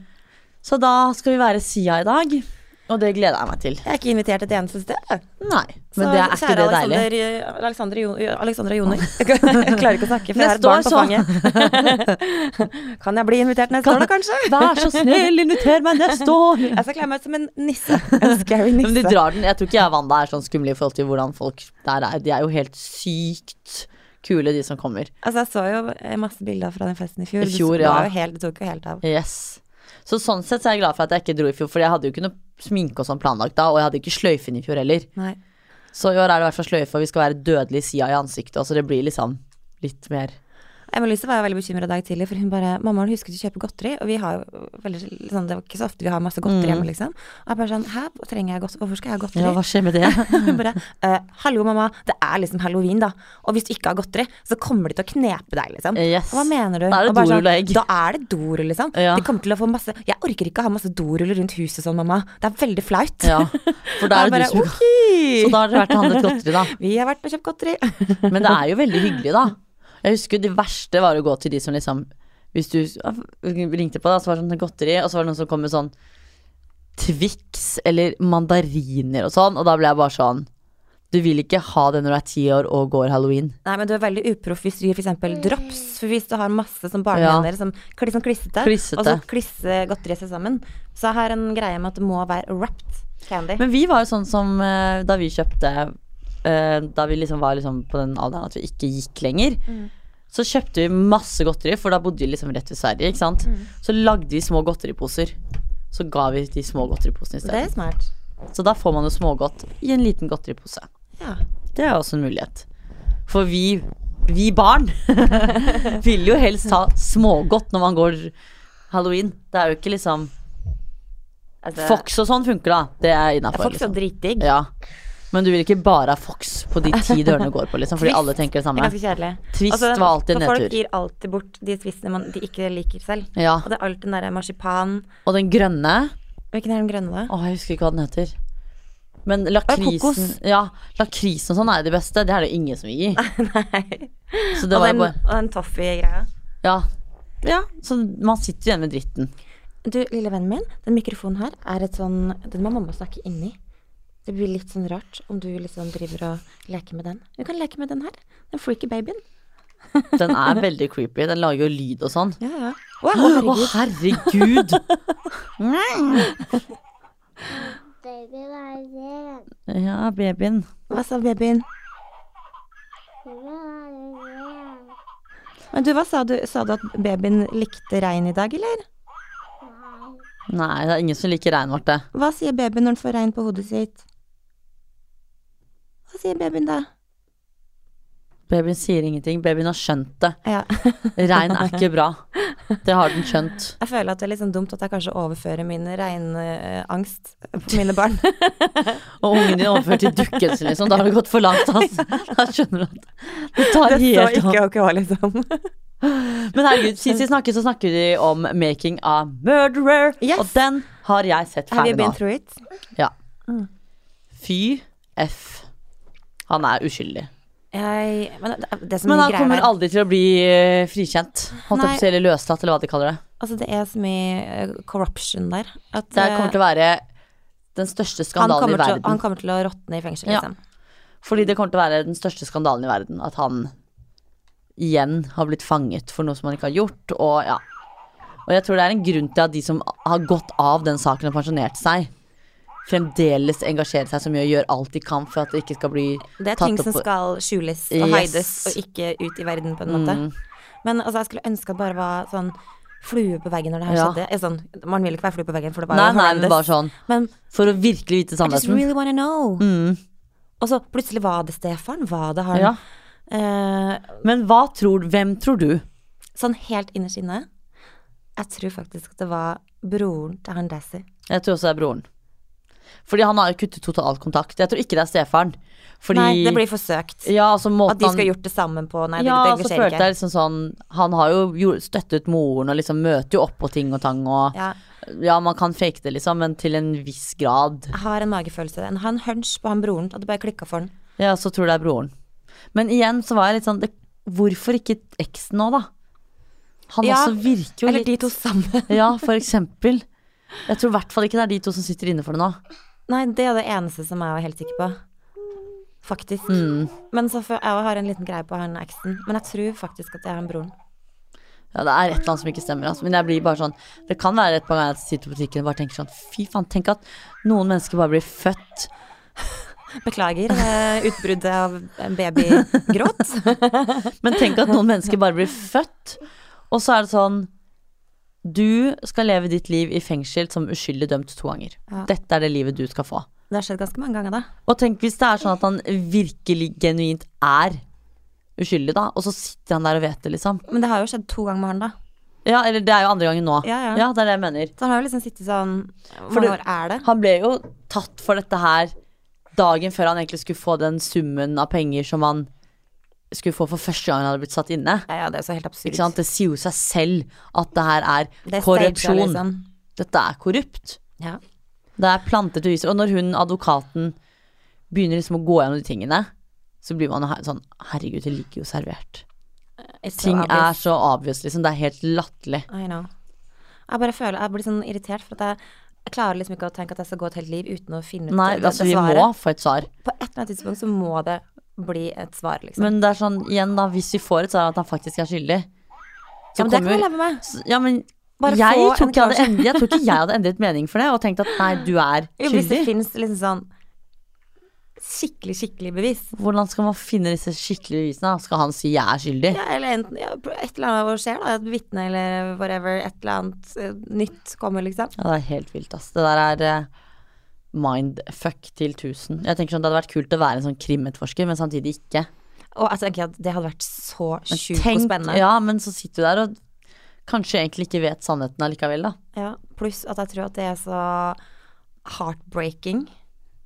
S1: Så da skal vi være Sia i dag, og det gleder jeg meg til.
S2: Jeg er ikke invitert et eneste sted. jeg.
S1: Nei, men
S2: Så,
S1: det er ikke
S2: kjære
S1: det deilig.
S2: Alexander, eh, Alexander Jo- eh, Alexandra Joner. Jeg klarer ikke å snakke, for jeg
S1: Neste
S2: har et barn
S1: år
S2: på
S1: så-
S2: fanget. Kan jeg bli invitert neste år, da, kanskje?
S1: Vær så snill, inviter meg neste år!
S2: Jeg skal kle meg ut som en nisse. En scary nisse.
S1: Men de drar den. Jeg tror ikke jeg og Wanda er sånn skumle i forhold til hvordan folk der er. De er jo helt sykt kule, de som kommer.
S2: Altså, jeg så jo eh, masse bilder fra den festen i fjor.
S1: I fjor,
S2: det, var
S1: ja.
S2: jo helt, det tok jo helt av.
S1: Yes. Så sånn sett så er jeg glad for at jeg ikke dro i fjor, for jeg hadde jo ikke noe sminke og sånn planlagt da, og jeg hadde ikke sløyfen i fjor heller.
S2: Nei.
S1: Så i år er det i hvert fall sløyfe, og vi skal være dødelig Sia i ansiktet, og så det blir liksom litt mer
S2: Emma-Louise var jo veldig bekymra i dag tidlig, for hun bare 'Mamma, har du husket å kjøpe godteri?' Og vi har jo veldig sånn Det var ikke så ofte vi har masse godteri hjemme, liksom. Og jeg bare sånn 'Hæ, trenger jeg godteri? Hvorfor skal jeg ha godteri?'
S1: Mm. Ja, hva skjer med det?
S2: Hun bare «Eh, 'Hallo, mamma, det er liksom halloween, da. Og hvis du ikke har godteri, så kommer de til å knepe deg, liksom.'
S1: Yes.
S2: Hva mener du?
S1: Eh, Da er det
S2: Og bare sånn,
S1: dorull og egg.
S2: Da er det dorull, liksom.
S1: Ja.
S2: De kommer til å få masse Jeg orker ikke å ha masse doruller rundt huset sånn, mamma. Det er veldig flaut.
S1: Ja, for da er
S2: Jeg
S1: det du
S2: bare,
S1: som
S2: «Ok».
S1: Så da har dere vært og handlet godteri, da.
S2: Vi har vært og kjøpt godteri.
S1: Men det er jo veldig hyggelig, da. Jeg husker det verste var å gå til de som liksom Hvis du ah, ringte på, da, så var det sånn godteri, og så var det noen som kom med sånn Twix eller mandariner og sånn, og da ble jeg bare sånn Du vil ikke ha det når du er ti år og går halloween.
S2: Nei, men du er veldig uproff hvis du gir f.eks. drops. For hvis du har masse som barnehender som kli- som klissete,
S1: Klissete.
S2: og så klisse godteriet seg sammen, så jeg har en greie med at det må være wrapped candy.
S1: Men vi var jo sånn som eh, da vi kjøpte eh, Da vi liksom var liksom på den alderen at vi ikke gikk lenger. Så kjøpte vi masse godteri, for da bodde vi liksom rett ved Sverige. ikke sant? Så lagde vi små godteriposer. Så ga vi de små godteriposene i
S2: det
S1: stedet.
S2: er smart.
S1: Så da får man jo smågodt i en liten godteripose.
S2: Ja.
S1: Det er også en mulighet. For vi, vi barn vil jo helst ha smågodt når man går halloween. Det er jo ikke liksom
S2: Altså,
S1: Fox og sånn funker, da. Det er innafor.
S2: Fox
S1: Liksom.
S2: er dritdigg.
S1: Ja. Men du vil ikke bare ha Fox på de ti dørene du går på, liksom, fordi
S2: Twist.
S1: alle tenker det
S2: Det er
S1: samme.
S2: ganske kjedelig. Altså,
S1: Twist var alltid
S2: for
S1: nedtur.
S2: Folk gir alltid bort de twistene man, de ikke liker selv.
S1: Ja.
S2: Og det er alltid den derre marsipan
S1: Og den grønne
S2: Hvilken er den grønne, da?
S1: Å, jeg husker ikke hva den heter. Men lakrisen
S2: kokos.
S1: Ja, lakrisen og sånn er jo de beste. Det er det jo ingen som vil gi.
S2: Nei.
S1: Så det
S2: og,
S1: var jo
S2: den,
S1: bare
S2: og den toffee-greia.
S1: Ja. ja. Så man sitter igjen med dritten.
S2: Du, lille vennen min, den mikrofonen her er et sånn Den må mamma snakke inni. Det blir litt sånn rart om du liksom driver og leker med den. Du kan leke med den her. Den freaky babyen.
S1: Den er veldig creepy. Den lager jo lyd og sånn.
S2: Ja, ja.
S1: Å, herregud!
S3: Baby, hva er det?
S1: Ja, babyen.
S2: Hva sa babyen?
S3: Hva er det?
S2: Men du, hva sa du? Sa du at babyen likte regn i dag, eller?
S1: Nei, det er ingen som liker rein, Marte.
S2: Hva sier babyen når den får regn på hodet sitt? Hva sier babyen da?
S1: Babyen sier ingenting. Babyen har skjønt det.
S2: Ja.
S1: Rein er ikke bra. Det har den skjønt.
S2: Jeg føler at det er litt sånn dumt at jeg kanskje overfører min regnangst på mine barn.
S1: Og ungen din overført til dukken sin, liksom. Da har det gått for langt, altså. Da skjønner du at det tar
S2: Det så
S1: helt av.
S2: ikke OK, liksom.
S1: Men herregud, sist vi snakket, så snakket vi om 'Making a Murderer'.
S2: Yes.
S1: Og den har jeg sett
S2: Have you
S1: ferdig nå.
S2: been through it?
S1: Fy f. Han er uskyldig.
S2: Jeg, men det, det som
S1: Men han
S2: greier
S1: kommer
S2: der-
S1: aldri til å bli eh, frikjent. Holdt
S2: Nei.
S1: opp Eller løslatt, eller hva de kaller det.
S2: Altså, det er så mye eh, corruption der. At,
S1: Det her
S2: eh,
S1: kommer til å være den største
S2: han,
S1: skandalen i
S2: kommer til, å-
S1: verden.
S2: han kommer til å råtne i fengsel,
S1: Ja.
S2: liksom.
S1: Fordi det kommer til å være den største skandalen i verden. At han igjen har blitt fanget for noe som han ikke har gjort. Og ja. Og jeg tror det er en grunn til at de som har gått av den saken og pensjonert seg, fremdeles engasjerer seg så mye og gjør alt de kan for at det ikke skal bli
S2: Det er
S1: tatt
S2: ting
S1: opp
S2: som
S1: på-
S2: skal skjules og
S1: Yes. Mm.
S2: hides og ikke ut i verden, på en måte. Men altså, jeg skulle ønske at det bare var sånn flue på veggen når det her
S1: Ja.
S2: skjedde. Eh, Sånn, man vil ikke være flue på veggen, for det
S1: Nei,
S2: bare
S1: nei, men bare sånn.
S2: Men
S1: For å virkelig vite
S2: I just
S1: sannheten.
S2: really wanna know. Og så plutselig var det Stefan, var det han?
S1: Ja.
S2: Eh,
S1: Men hva tror, hvem tror du?
S2: sånn helt innerst inne. Jeg tror faktisk at det var broren til han Dassy.
S1: Jeg tror også det er broren. Fordi han har jo kuttet totalt kontakt. Jeg tror ikke det er stefaren. Fordi
S2: Nei, det blir forsøkt.
S1: ja, altså, måten
S2: At de
S1: han-
S2: skal ha gjort det sammen på Nei,
S1: ja,
S2: det, det
S1: så
S2: skjer
S1: følte
S2: ikke.
S1: jeg liksom sånn Han har jo gjort- støttet moren og liksom møter jo opp på ting og tang og
S2: Ja,
S1: Ja, man kan fake det liksom, men til en viss grad.
S2: jeg har en magefølelse. Jeg har en hunch på han broren. At det bare klikka for han.
S1: Ja, så tror jeg det er broren. Men igjen så var jeg litt sånn det, Hvorfor ikke eksen nå, da? Han
S2: Ja,
S1: også virker jo
S2: Eller
S1: litt
S2: de to sammen.
S1: Ja, for eksempel. Jeg tror i hvert fall ikke det er de to som sitter inne for det nå.
S2: Nei, det er det eneste som jeg var helt sikker på. Faktisk.
S1: Mm.
S2: Men så for, jeg har en liten greie på han eksen. Men jeg tror faktisk at det er han broren.
S1: Ja, det er et eller annet som ikke stemmer. Altså. Men jeg blir bare sånn Det kan være et par ganger jeg sitter på butikken og bare tenker sånn Fy faen, tenk at noen mennesker bare blir født
S2: Beklager eh, utbruddet av babygråt.
S1: Men tenk at noen mennesker bare blir født, og så er det sånn Du skal leve ditt liv i fengsel som uskyldig dømt to ganger.
S2: Ja.
S1: Dette er det livet du skal få.
S2: Det har skjedd ganske mange ganger, da.
S1: Og tenk hvis det er sånn at han virkelig genuint er uskyldig, da, og så sitter han der og vet det, liksom.
S2: Men det har jo skjedd to ganger med han, da.
S1: Ja, eller det er jo andre gangen nå.
S2: Ja, ja.
S1: ja det er det jeg mener.
S2: Så han har jo liksom sittet sånn Hvor
S1: For
S2: mange
S1: det-
S2: år er det?
S1: Han ble jo tatt for dette her dagen før han egentlig skulle få den summen av penger som han skulle få for første gang han hadde blitt satt inne.
S2: Ja, ja, det er jo så helt absurd.
S1: Ikke sant? Det sier jo seg selv at det her er,
S2: Det er
S1: korrupsjon.
S2: staged, liksom.
S1: Dette er korrupt.
S2: Ja.
S1: Det er plantet beviser. Og når hun, advokaten, begynner liksom å gå gjennom de tingene, så blir man jo her- sånn Herregud, det ligger jo servert.
S2: It's so
S1: Ting
S2: obvious.
S1: er så obvious, liksom. Det er helt latterlig.
S2: I know. Jeg bare føler, jeg blir sånn irritert, for at jeg, jeg klarer liksom ikke å tenke at jeg skal gå et helt liv uten å finne ut
S1: Nei,
S2: det,
S1: altså, vi
S2: det
S1: må få et svar.
S2: På et eller annet tidspunkt så må det bli et svar, liksom.
S1: Men det er sånn, igjen, da, hvis vi får et svar at han faktisk er skyldig, så
S2: ja, men det kan
S1: kommer
S2: jeg
S1: jo
S2: leve med.
S1: S- Ja, men
S2: Bare
S1: jeg,
S2: få
S1: tror
S2: en
S1: ikke jeg, hadde
S2: klar-
S1: endret, jeg tror ikke jeg hadde endret mening for det og tenkt at nei, du er
S2: Jo, Hvis det
S1: skyldig.
S2: finnes liksom sånn skikkelig, skikkelig bevis.
S1: Hvordan skal man finne disse skikkelige bevisene? da? Skal han si jeg er skyldig?
S2: Ja, eller enten ja, et eller annet skjer, da. Et vitne eller whatever. Et eller annet eh, nytt kommer, liksom.
S1: Ja, det er helt vilt, ass. Det der er eh, mindfuck til tusen. Jeg tenker sånn, Det hadde vært kult å være en sånn krimmetforsker, men samtidig ikke.
S2: Og jeg tenker at det hadde vært så
S1: Men
S2: sjukt og
S1: tenk-
S2: spennende.
S1: Ja, men så sitter du der og kanskje egentlig ikke vet sannheten allikevel, da.
S2: Ja, pluss at jeg tror at det er så heartbreaking.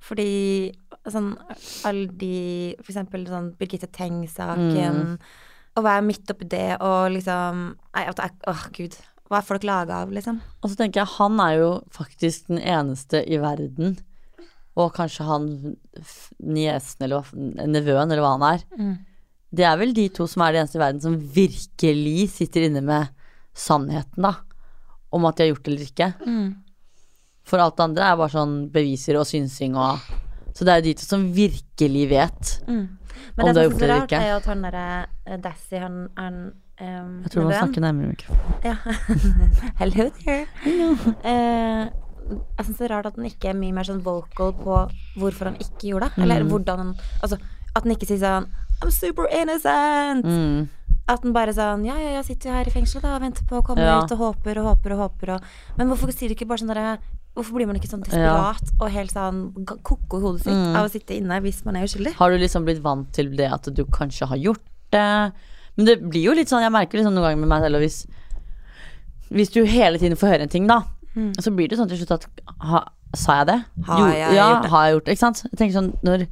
S2: Fordi sånn alle de For eksempel sånn Birgitte Tengs-saken.
S1: Mm.
S2: Å være midt oppi det og liksom Nei, at jeg Åh, gud. Hva er folk laga av, liksom?
S1: Og så tenker jeg, han er jo faktisk den eneste i verden, og kanskje han f- niesen, eller hva f- nevøen, eller hva han er. Det er vel de to som er de eneste i verden som virkelig sitter inne med sannheten, da. Om at de har gjort det eller ikke. For alt det andre er bare sånn beviser og synsing og Så det er jo de to som virkelig vet.
S2: Mm. Men
S1: Om du
S2: det som
S1: har gjort det
S2: er så
S1: eller
S2: rart,
S1: ikke.
S2: er jo at han derre Dassy, han, han ehm,
S1: Jeg tror man
S2: nevøen,
S1: snakker nærmere mikrofonen.
S2: Ja. Hello there. Eh, jeg syns det er rart at han ikke er mye mer sånn vocal på hvorfor han ikke gjorde det.
S1: Mm.
S2: Eller hvordan han Altså, at han ikke sier sånn I'm super innocent.
S1: Mm.
S2: At han bare sånn Ja, ja, jeg sitter jo her i fengselet da og venter på å komme
S1: Ja.
S2: ut og håper og håper og håper og Men hvorfor sier du ikke bare sånn derre Hvorfor blir man ikke sånn
S1: Ja. Mm.
S2: desperat og helt sånn ga- ko-ko i hodet sitt av å sitte inne hvis man er uskyldig?
S1: Har du liksom blitt vant til det at du kanskje har gjort det? Men det blir jo litt sånn, jeg merker liksom noen ganger med meg selv og hvis, hvis du hele tiden får høre en ting, da, så blir det sånn til slutt at ha, Sa jeg det?
S2: Mm. Har jeg
S1: ja,
S2: gjort det?
S1: Har jeg gjort det? Ikke sant? Jeg tenker sånn, Når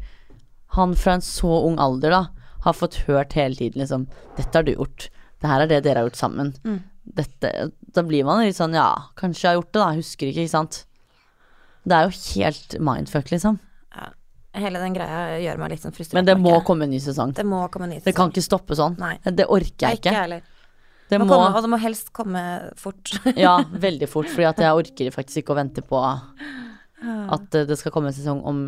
S1: han fra en så ung alder da har fått hørt hele tiden liksom Dette har du gjort. det her er det dere har gjort sammen.
S2: Mm.
S1: Dette, da blir man litt sånn ja, kanskje jeg har gjort det, da. Jeg Husker ikke, ikke sant. Det er jo helt mindfuck, liksom.
S2: Hele den greia gjør meg litt sånn frustrert.
S1: Men det må
S2: merker jeg.
S1: komme en ny sesong.
S2: Det må komme en ny
S1: Det kan
S2: sesong.
S1: ikke stoppe sånn.
S2: Nei.
S1: Det orker jeg
S2: Ikke jeg
S1: ikke.
S2: heller.
S1: Det
S2: Det må
S1: må
S2: komme, og det må helst komme fort.
S1: Ja, veldig fort, fordi at jeg orker faktisk ikke å vente på at eh, det skal komme en sesong om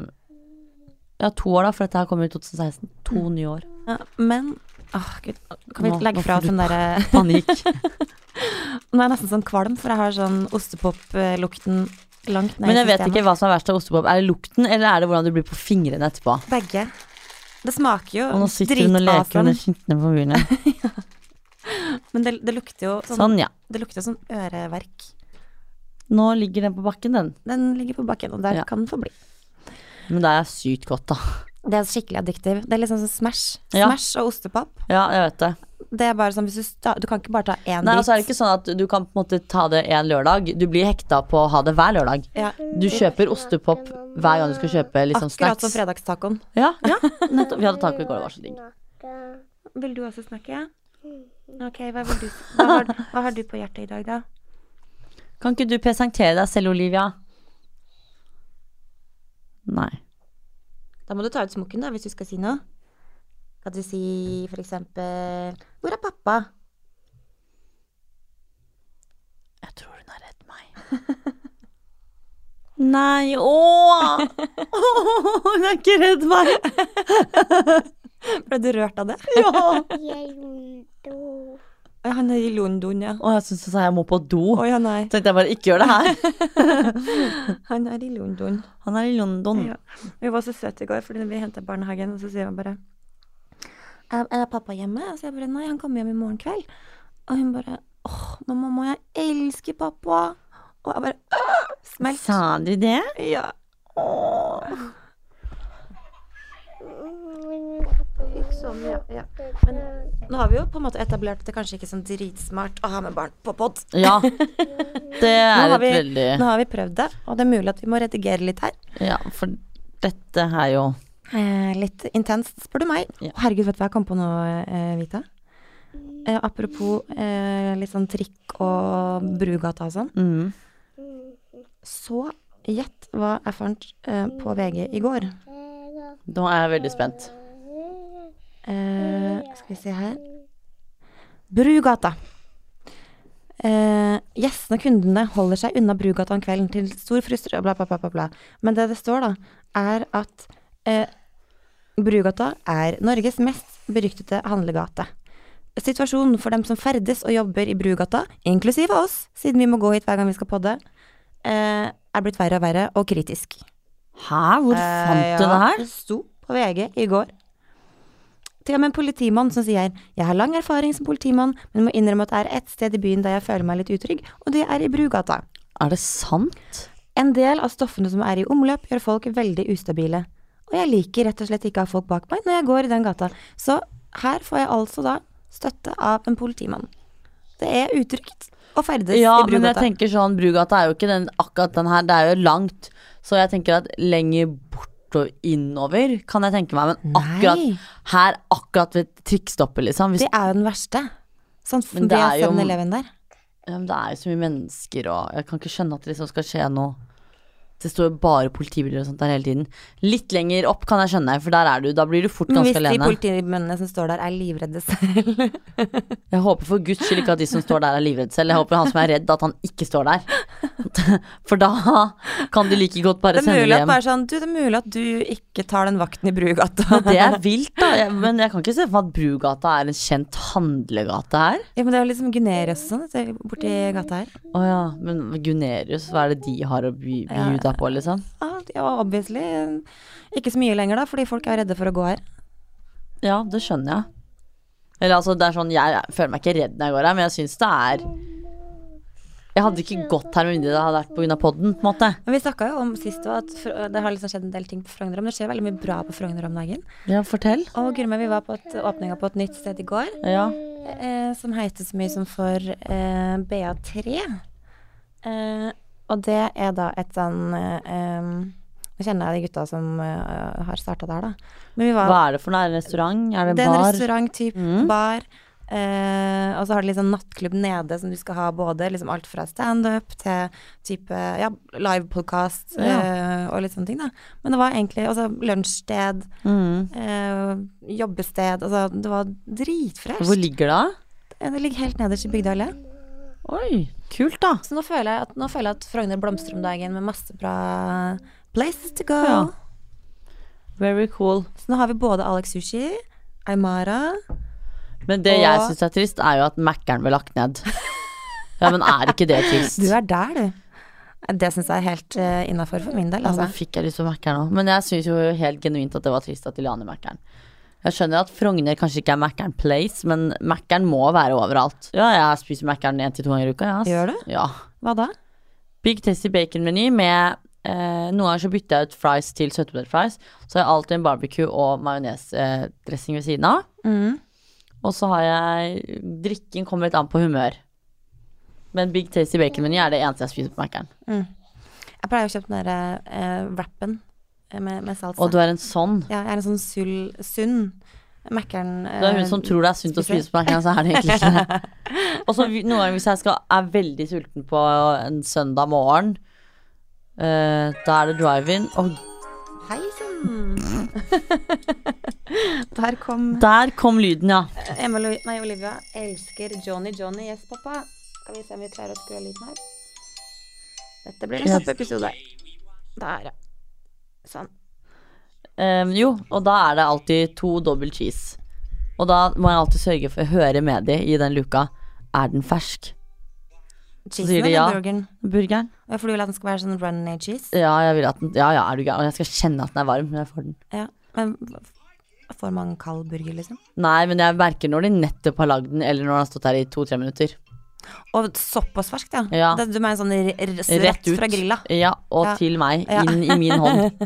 S1: ja, to år, da, for dette her kommer i 2016. To nye år.
S2: Ja, Men åh, gud, Mm. kan vi
S1: Nå- nå
S2: legge
S1: får
S2: fra oss
S1: du
S2: den derre
S1: Panikk.
S2: Nå er jeg nesten sånn kvalm, for jeg har sånn ostepop-lukten langt ned
S1: Men jeg
S2: i
S1: vet
S2: systemet.
S1: ikke hva som er verst av ostepop. Er det lukten, eller er det hvordan du blir på fingrene etterpå?
S2: Begge. Det
S1: Og
S2: smaker jo
S1: nå sitter hun og leker
S2: dritasom,
S1: under skintene på murene.
S2: men det, det lukter jo sånn,
S1: Sånn, ja.
S2: Det lukter som øreverk.
S1: Nå ligger den på bakken, den.
S2: Den ligger på bakken, og der
S1: Ja.
S2: kan den få bli.
S1: Men det er sykt godt, da.
S2: Det er skikkelig addiktiv. Det er liksom sånn Smash.
S1: Ja.
S2: Smash og ostepop.
S1: Ja, jeg vet det.
S2: Det er bare sånn hvis du sta Du kan ikke bare ta én
S1: Nei,
S2: bit.
S1: altså er det ikke sånn at du kan på en måte ta det en lørdag. Du blir hekta på å ha det hver lørdag.
S2: ja.
S1: Du kjøper ostepop hver gang du skal kjøpe liksom
S2: Akkurat som
S1: snacks.
S2: fredagstacoen.
S1: Ja, ja, nettopp. Vi hadde taco i går, det var så digg.
S2: Vil du også snakke? Ok, hva, vil du, hva, har, hva har du på hjertet i dag, da?
S1: Kan ikke du presentere deg selv, Olivia? Nei.
S2: Da må du ta ut smokken, da, hvis du skal si noe. Kan du si for eksempel Hvor er pappa?
S1: Jeg tror hun har redd meg. Nei, åh! Åh, Hun er ikke redd meg!
S2: Ble du rørt av det?
S1: Ja.
S2: Oi, han er i London, ja.
S1: Og jeg syns hun sa jeg må på do.
S2: Oi, han er,
S1: Tenkte jeg bare ikke gjør det her.
S2: han er i London.
S1: Han er i London.
S2: Ja. Vi var så søte i går, fordi vi henta barnehagen, og så sier han bare er, er pappa hjemme? Og så jeg bare Nei, han kommer hjem i morgen kveld. Og hun bare Åh, men mamma, jeg elsker pappa. Og jeg bare «Åh, Smelt.
S1: Sa du det?
S2: Ja. Åh. Sånn, ja, ja. Men nå har vi jo på en måte etablert at det kanskje ikke er sånn dritsmart å ha med barn på pod.
S1: Ja. Det er
S2: har
S1: et
S2: vi-
S1: veldig
S2: Nå har vi prøvd det, og det er mulig at vi må redigere litt her.
S1: Ja, for dette er jo
S2: Eh, litt intenst, spør du meg.
S1: Ja.
S2: Herregud, vet du hva jeg kom på nå, eh, Vita? Eh, apropos eh, litt sånn trikk og Brugata og sånn.
S1: mm.
S2: Så gjett hva jeg fant eh, på VG i går.
S1: Nå er jeg veldig spent.
S2: Eh, skal vi se her Brugata. Eh, gjestene og kundene holder seg unna Brugata om kvelden til stor frustrasjon bla, bla, bla, bla, bla. Men det det står, da, er at eh, Brugata er Norges mest beryktede handlegate. Situasjonen for dem som ferdes og jobber i Brugata, inklusive oss, siden vi må gå hit hver gang vi skal podde, eh, er blitt verre og verre og kritisk.
S1: Hæ, hvor
S2: Eh,
S1: fant du
S2: ja,
S1: det her?
S2: Det sto på VG i går. Til og med en politimann som sier 'Jeg har lang erfaring som politimann, men må innrømme at det er ett sted i byen der jeg føler meg litt utrygg, og det er i Brugata'.
S1: Er det sant?
S2: En del av stoffene som er i omløp, gjør folk veldig ustabile. Og jeg liker rett og slett ikke å ha folk bak meg når jeg går i den gata. Så her får jeg altså da støtte av en politimann. Det er utrygt å ferdes
S1: Ja,
S2: i
S1: men jeg
S2: Brugata.
S1: tenker sånn, Brugata er jo ikke den, akkurat den her, det er jo langt. Så jeg tenker at lenger bort og innover kan jeg tenke meg, men akkurat
S2: Nei.
S1: her, akkurat ved trikkstoppet, liksom. Hvis,
S2: det er jo den verste. Sånn,
S1: Men
S2: det
S1: det er
S2: er
S1: jo-
S2: 7-Eleven der.
S1: ja, men det er jo så mye mennesker, og jeg kan ikke skjønne at det liksom skal skje noe. Det står jo bare politibiler og sånt der hele tiden. Litt lenger opp kan jeg skjønne, for der er du. Da blir du fort
S2: Men hvis
S1: ganske
S2: de
S1: alene.
S2: politimennene som står der er livredde selv
S1: Jeg håper for guds skyld ikke at de som står der er livredde selv. Jeg håper han som er redd at han ikke står der. For da kan de like godt bare
S2: Det er
S1: sende
S2: mulig
S1: det
S2: at
S1: hjem.
S2: bare sånn, du, det er mulig at du ikke tar den vakten i Brugata.
S1: Det er vilt, da. Jeg- Men jeg kan ikke se for meg at Brugata er en kjent handlegate her.
S2: Ja, men det er jo liksom Gunerius og sånn vet du, borti gata her.
S1: Å ja, men Gunerius, hva er det de har å by bjuda på, liksom?
S2: Ja, de er obviously eh, ikke så mye lenger da, fordi folk er redde for å gå her.
S1: Ja, det skjønner jeg. Eller altså, det er sånn, jeg føler meg ikke redd når jeg går her, men jeg syns det er Jeg hadde ikke gått her med mindre det hadde vært pga. podden, på en måte.
S2: Men vi snakka jo om sist også at Fr- det har liksom skjedd en del ting på Frogner. Men det skjer veldig mye bra på Frogner om dagen.
S1: Ja, fortell.
S2: Og Gurme, vi var på et- åpninga på et nytt sted i går,
S1: Ja.
S2: eh, som heter så mye som for eh, BA3. Eh, og det er da et sånn eh, em, Nå kjenner jeg de gutta som eh, har starta der, da. Men vi var
S1: Hva er det for noe? Er det restaurant? Er det
S2: Det er en
S1: bar? Mm.
S2: restaurant, typ bar. Eh, og så har de liksom nattklubb nede som du skal ha både liksom alt fra standup til type ja, livepodkast eh, og litt sånne ting, da. Men det var egentlig altså lunsjsted,
S1: Mm.
S2: eh, jobbested Altså det var
S1: Hvor
S2: dritfresht.
S1: ligger det?
S2: Eh, Det ligger helt nederst i Bygdøylet.
S1: Oi, kult da.
S2: Så nå føler jeg at, nå føler jeg at Frogner blomstrer om dagen med masse bra places to go.
S1: Ja. Very cool.
S2: Så nå har vi både Alex Sushi, Aymara
S1: Men det
S2: Og-
S1: jeg syns er trist, er jo at Mækkern ble lagt ned. Ja, men er ikke det trist?
S2: Du er der, du. Det syns jeg er helt uh, innafor for min del,
S1: Ja, nå
S2: altså.
S1: fikk jeg lyst på Mækkern òg. Men jeg syns jo helt genuint at det var trist at de la ned Mækkern. Jeg skjønner at Frogner kanskje ikke er Mækkern Place, men Mækkern må være overalt. Ja, jeg spiser Mækkern én til to ganger i uka. jeg, ass.
S2: Gjør du?
S1: Ja.
S2: Hva da?
S1: Big Tasty Bacon-meny med eh, Noen ganger så bytter jeg ut fries til søtpotetfries. Så har jeg alltid en barbecue og majonesdressing eh, dressing ved siden av.
S2: Mm.
S1: Og så har jeg Drikken kommer litt an på humør. Men Big Tasty Bacon-meny er det eneste jeg spiser på Mækkern.
S2: Jeg pleier å kjøpe den der eh, wrappen eh, med, med salsa.
S1: Og du er en sånn.
S2: Ja, jeg er en sånn sull, sunn eh, Mækkern
S1: Det er hun som tror det er sunt å
S2: spiser.
S1: spise på Mækkern, så er det egentlig ikke det. Og så vi- noen ganger hvis jeg skal, er veldig sulten på en søndag morgen, eh, da er det drive-in. Og
S2: Hei sann! Der kom
S1: der kom lyden, ja.
S2: Emma Lo- nei, Olivia elsker Johnny Johnny. Yes, pappa. Skal vi se om vi klarer å skru av lyden her. Dette blir en kjapp episode. Der, ja. Sånn.
S1: Ehm, jo, og da er det alltid to double cheese. Og da må jeg alltid sørge for å høre med de i den luka. Er den fersk?
S2: Cheesen
S1: sier de
S2: eller
S1: ja.
S2: burgeren?
S1: Burgeren?
S2: Ja, For du vil at den skal være sånn runny cheese?
S1: Ja, jeg vil at den Ja, ja, er du gæren? Og jeg skal kjenne at den er varm når jeg får den.
S2: Ja. Men f- får man kald burger, liksom?
S1: Nei, men jeg merker når de nettopp har lagd den, eller når den har stått her i to-tre minutter.
S2: Og såpass ferskt, ja.
S1: Ja.
S2: Det, du mener sånn r r
S1: Rett
S2: rett
S1: ut.
S2: fra grilla?
S1: Ja, og
S2: Ja.
S1: til meg.
S2: Ja.
S1: Inn i min hånd.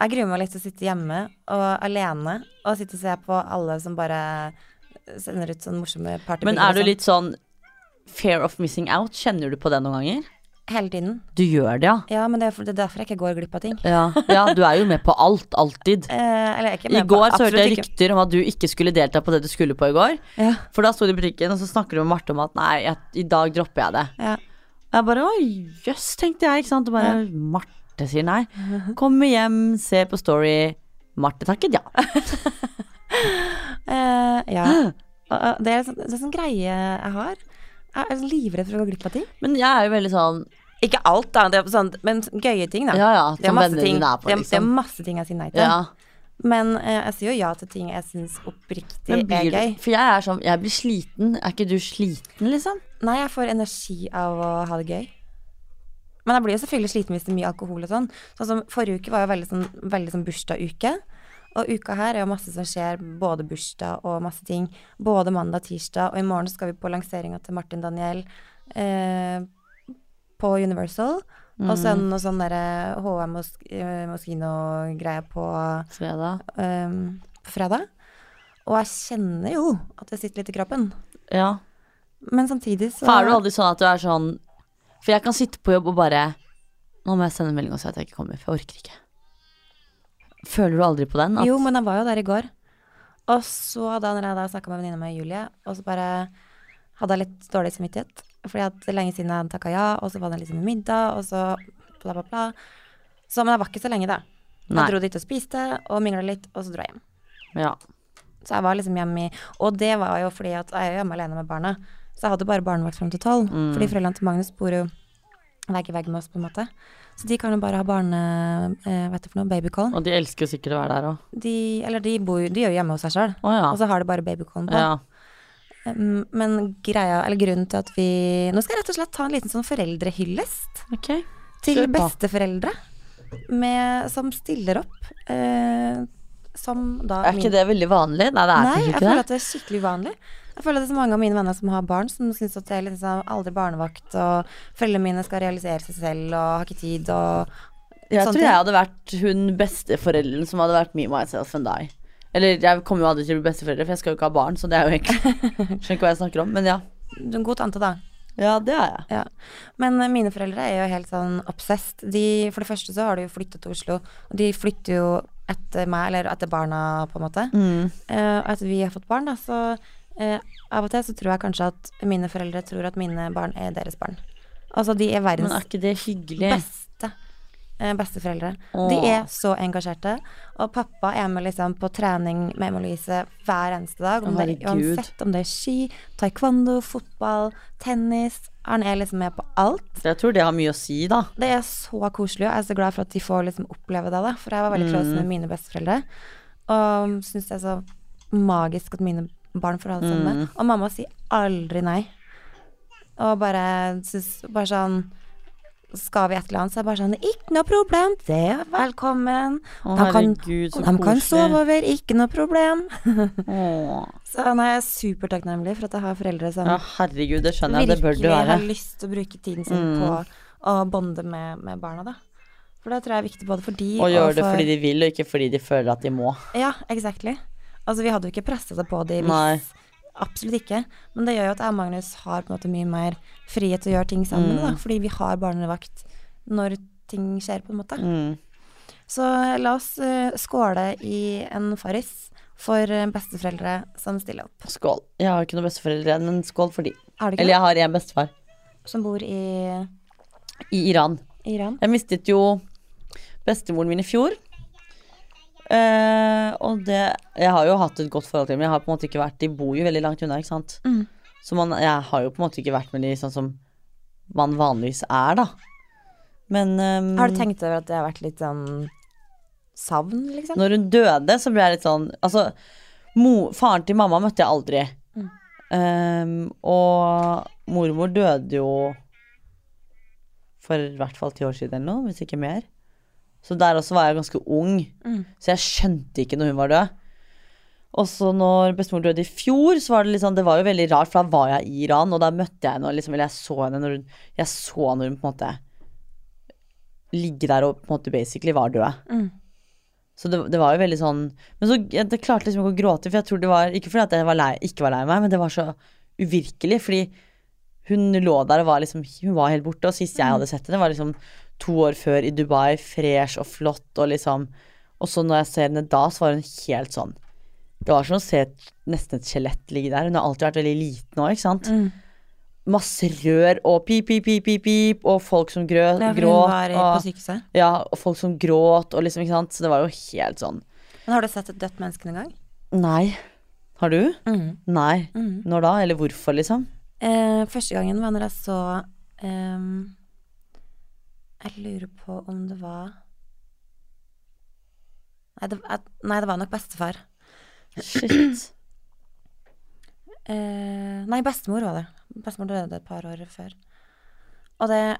S2: Jeg gruer meg litt til å sitte hjemme og alene og sitte og se på alle som bare sender ut sånne morsomme partybilder.
S1: Men er du
S2: og sånn.
S1: litt sånn fair of missing out? Kjenner du på det noen ganger?
S2: Hele tiden.
S1: Du gjør det, ja.
S2: Ja, men det er, for, det er derfor jeg ikke går glipp av ting.
S1: Ja, ja du er jo med på alt, alltid.
S2: Eh, eller jeg er ikke
S1: I
S2: med på
S1: går så hørte
S2: absolutt
S1: jeg
S2: ikke.
S1: rykter om at du ikke skulle delta på det du skulle på i går.
S2: Ja,
S1: For da sto det i butikken, og så snakker du med Marte om at nei, jeg, i dag dropper jeg det.
S2: ja.
S1: Jeg bare oi, jøss, tenkte jeg, ikke sant. Og bare Marte sier nei. Kommer hjem, ser på Story. Marte takket ja.
S2: Eh, ja. Og, og det er sånn, det er sånn greie jeg har. Jeg er sånn livredd for å gå glipp av ting.
S1: Men jeg er jo veldig sånn
S2: Ikke alt, da, det er sånn, men gøye ting, da.
S1: ja ja,
S2: det er
S1: som
S2: masse
S1: vennene
S2: ting,
S1: dine er på,
S2: det er, det er
S1: liksom.
S2: masse ting jeg sier nei til.
S1: Ja.
S2: Men eh, jeg sier jo ja til ting jeg syns oppriktig
S1: Men blir
S2: er
S1: du
S2: gøy.
S1: For jeg er sånn, jeg blir sliten. Er ikke du sliten, liksom?
S2: Nei, jeg får energi av å ha det gøy. Men jeg blir jo selvfølgelig sliten hvis det er mye alkohol og sånn. Sånn som Forrige uke var jo veldig sånn, veldig sånn bursdagsuke. Og uka her er jo masse som skjer, både bursdag og masse ting. Både mandag, tirsdag, og i morgen skal vi på lanseringa til Martin Daniel eh, på Universal.
S1: Mm.
S2: Og så er det noe sånn derre HM Mos- eh, Moschino-greie på
S1: Fredag.
S2: ehm, på fredag. Og jeg kjenner jo at det sitter litt i kroppen.
S1: Ja.
S2: Men samtidig så
S1: For er du aldri sånn at du er sånn For jeg kan sitte på jobb og bare Nå må jeg sende en melding og si at jeg ikke kommer, for jeg orker ikke. Føler du aldri på den? At
S2: Jo, men jeg var jo der i går. Og så da når jeg da snakka med venninna mi, Julie, og så bare hadde jeg litt dårlig samvittighet. Fordi at det er lenge siden jeg hadde takka ja, og så var det liksom middag, og så bla, bla, bla. Så, men jeg var ikke så lenge, da.
S1: Nei.
S2: Jeg dro dit og spiste og mingla litt, og så dro jeg hjem.
S1: Ja.
S2: Så jeg var liksom hjemme i Og det var jo fordi at jeg er jo hjemme alene med barna. Så jeg hadde bare barnevakt fram til tolv.
S1: Mm.
S2: Fordi foreldrene til Magnus bor jo vegg i vegg med oss, på en måte. Så de kan jo bare ha barne... Eh, vet du for noe? Babycallen.
S1: Og de elsker jo sikkert å være der òg.
S2: De, eller de bor jo De er jo hjemme hos seg sjøl.
S1: Å ja.
S2: Og så har de bare babycallen på.
S1: ja.
S2: Mm, Men greia, eller grunnen til at vi Nå skal jeg rett og slett ta en liten sånn foreldrehyllest
S1: Ok.
S2: til
S1: Kjør på.
S2: besteforeldre med, som stiller opp. Eh, som da
S1: Er ikke det veldig vanlig? Nei, det er
S2: Nei,
S1: kanskje
S2: jeg
S1: ikke
S2: føler
S1: det.
S2: at det er skikkelig uvanlig. Jeg føler at det er så mange av mine venner som har barn, som syns at det er liksom aldri barnevakt, og foreldrene mine skal realisere seg selv og har ikke tid og
S1: Jeg
S2: sånne
S1: tror
S2: ting.
S1: jeg hadde vært hun besteforelderen som hadde vært me, myself and I. Eller jeg kommer jo aldri til å bli besteforeldre, for jeg skal jo ikke ha barn, så det er jo egentlig Skjønner ikke hva jeg snakker om, men ja.
S2: Du er en god tante, da.
S1: Ja, det er jeg.
S2: Ja. Men eh, mine foreldre er jo helt sånn obsessed. De, for det første så har de jo flytta til Oslo, og de flytter
S1: Mm.
S2: jo etter meg, eller etter barna, på en måte. Eh, Og etter vi har fått barn, da, så eh, av og til så tror jeg kanskje at mine foreldre tror at mine barn er deres barn. Altså, de er verdens
S1: Men er ikke det hyggelig?
S2: beste eh, besteforeldre.
S1: Åh.
S2: De er så engasjerte. Og pappa er med liksom på trening med Emma Louise hver eneste dag.
S1: Å,
S2: Om det,
S1: herregud.
S2: uansett om det er ski, taekwondo, fotball, tennis. Han er liksom med på alt.
S1: Jeg tror det har mye å si, da.
S2: Det er så koselig, og jeg er så glad for at de får liksom oppleve det. da For jeg var veldig
S1: Mm.
S2: close med mine besteforeldre. Og syns det er så magisk at mine barn får ha det sammen.
S1: Mm.
S2: med. Og mamma sier aldri nei. Og bare syns Bare sånn Skal vi et eller annet, så er det bare sånn Ikke noe problem, det er velkommen.
S1: Å,
S2: de kan,
S1: herregud, så
S2: de kan
S1: koselig.
S2: sove over, ikke noe problem.
S1: Åh.
S2: så nå er jeg supertakknemlig for at jeg har foreldre som
S1: Ja, herregud, det skjønner jeg. Det bør du
S2: virkelig
S1: være. Mm.
S2: har lyst til å bruke tiden sin på å bonde med, med barna, da. For det tror jeg er viktig både for de
S1: Og gjøre det
S2: for
S1: fordi de vil, og ikke fordi de føler at de må.
S2: Ja, exactly. Altså, vi hadde jo ikke pressa det på de hvis
S1: Nei.
S2: Absolutt ikke. Men det gjør jo at jeg og Magnus har på en måte mye mer frihet til å gjøre ting sammen, da,
S1: Mm.
S2: fordi vi har barnevakt når ting skjer, på en måte.
S1: Mm.
S2: Så la oss eh, skåle i en farris for eh, besteforeldre som stiller opp.
S1: Skål. Jeg har ikke noen besteforeldre igjen, men skål for de.
S2: Er det
S1: Eller
S2: ikke
S1: jeg har en bestefar.
S2: det? Som bor i
S1: I Iran.
S2: Iran?
S1: Jeg mistet jo bestemoren min i fjor. Eh, og det Jeg har jo hatt et godt forhold til dem. Jeg har på en måte ikke vært De bor jo veldig langt unna, ikke sant.
S2: Mm.
S1: Så man, jeg har jo på en måte ikke vært med de sånn som man vanligvis er, da. Men ehm,
S2: Har du tenkt over at det har vært litt sånn savn, liksom?
S1: Når hun døde, så ble jeg litt sånn Altså, mo, faren til mamma møtte jeg aldri.
S2: Mm.
S1: Ehm, og mormor døde jo for i hvert fall ti år siden eller noe, hvis ikke mer. Så der også var jeg ganske ung,
S2: Mm.
S1: så jeg skjønte ikke når hun var død. Og så når bestemor døde i fjor, så var det litt sånn, det var jo veldig rart, for da var jeg i Iran, og da møtte jeg henne, og liksom, eller jeg så henne når hun, jeg så når hun på en måte ligge der og på en måte basically var død.
S2: Mm.
S1: Så det, det var jo veldig sånn Men så jeg det klarte liksom ikke å gråte, for jeg tror det var Ikke fordi at jeg var lei, ikke var lei meg, men det var så uvirkelig, fordi hun lå der og var liksom Hun var helt borte, og sist
S2: Mm.
S1: jeg hadde sett henne, var liksom to år før i Dubai, fresh og flott og liksom Og så når jeg ser henne da, så var hun helt sånn Det var som å se et, nesten et skjelett ligge der. Hun har alltid vært veldig liten òg, ikke sant?
S2: Mm.
S1: Masse rør og pip, pip, pip, pip, pip, og folk som grø,
S2: Ja, for hun
S1: gråt.
S2: var i- på
S1: Og,
S2: sykehuset.
S1: ja, og folk som gråt, og liksom, ikke sant. Så det var jo helt sånn
S2: Men har du sett et dødt menneske noen gang?
S1: Nei. Har du?
S2: Mm.
S1: Nei.
S2: Mm.
S1: Når da? Eller hvorfor, liksom?
S2: Eh, første gangen var når jeg så ehm, Jeg lurer på om det var Nei, det, jeg, nei, det var nok bestefar.
S1: Shit.
S2: Eh, nei, bestemor var det. Bestemor døde et par år før. Og det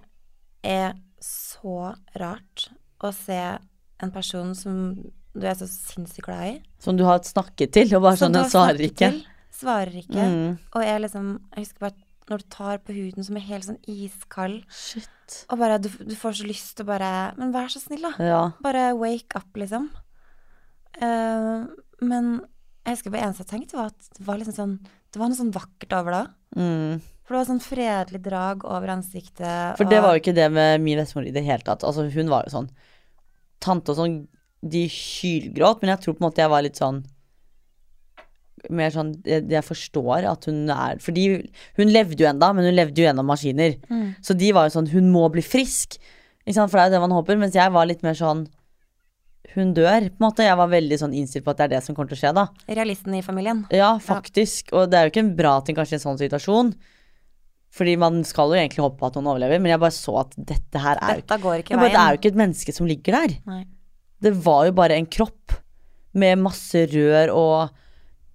S2: er så rart å se en person som du er så sinnssykt glad i.
S1: Som du har snakket til, og bare
S2: som
S1: sånn
S2: du
S1: den
S2: har
S1: svarer
S2: snakket
S1: ikke.
S2: til, svarer ikke.
S1: Mm.
S2: Og jeg liksom Jeg husker bare at når du tar på huden som er helt sånn iskald,
S1: Shit.
S2: og bare du, du får så lyst til å bare Men vær så snill, da.
S1: Ja.
S2: Bare wake up, liksom. Eh, men jeg husker bare eneste jeg tenkte, var at det var liksom sånn Det var noe sånn vakkert over det.
S1: Mm.
S2: For det var sånn fredelig drag over ansiktet.
S1: For det var jo ikke det med min bestemor i det hele tatt. Altså, hun var jo sånn Tante og sånn, de hylgråt, men jeg tror på en måte jeg var litt sånn mer sånn, jeg, jeg forstår at hun er Fordi hun levde jo enda, men hun levde jo gjennom maskiner.
S2: Mm.
S1: Så de var jo sånn Hun må bli frisk! Ikke sant? For det er jo det man håper. Mens jeg var litt mer sånn Hun dør, på en måte. Jeg var veldig sånn innstilt på at det er det som kommer til å skje, da.
S2: Realisten i familien.
S1: Ja, faktisk. Og det er jo ikke en bra ting kanskje i en sånn situasjon. Fordi man skal jo egentlig håpe på at noen overlever, men jeg bare så at dette her er jo ikke
S2: Dette går
S1: ja,
S2: ikke
S1: bare,
S2: veien.
S1: Det er jo ikke et menneske som ligger der.
S2: Nei.
S1: Det var jo bare en kropp med masse rør og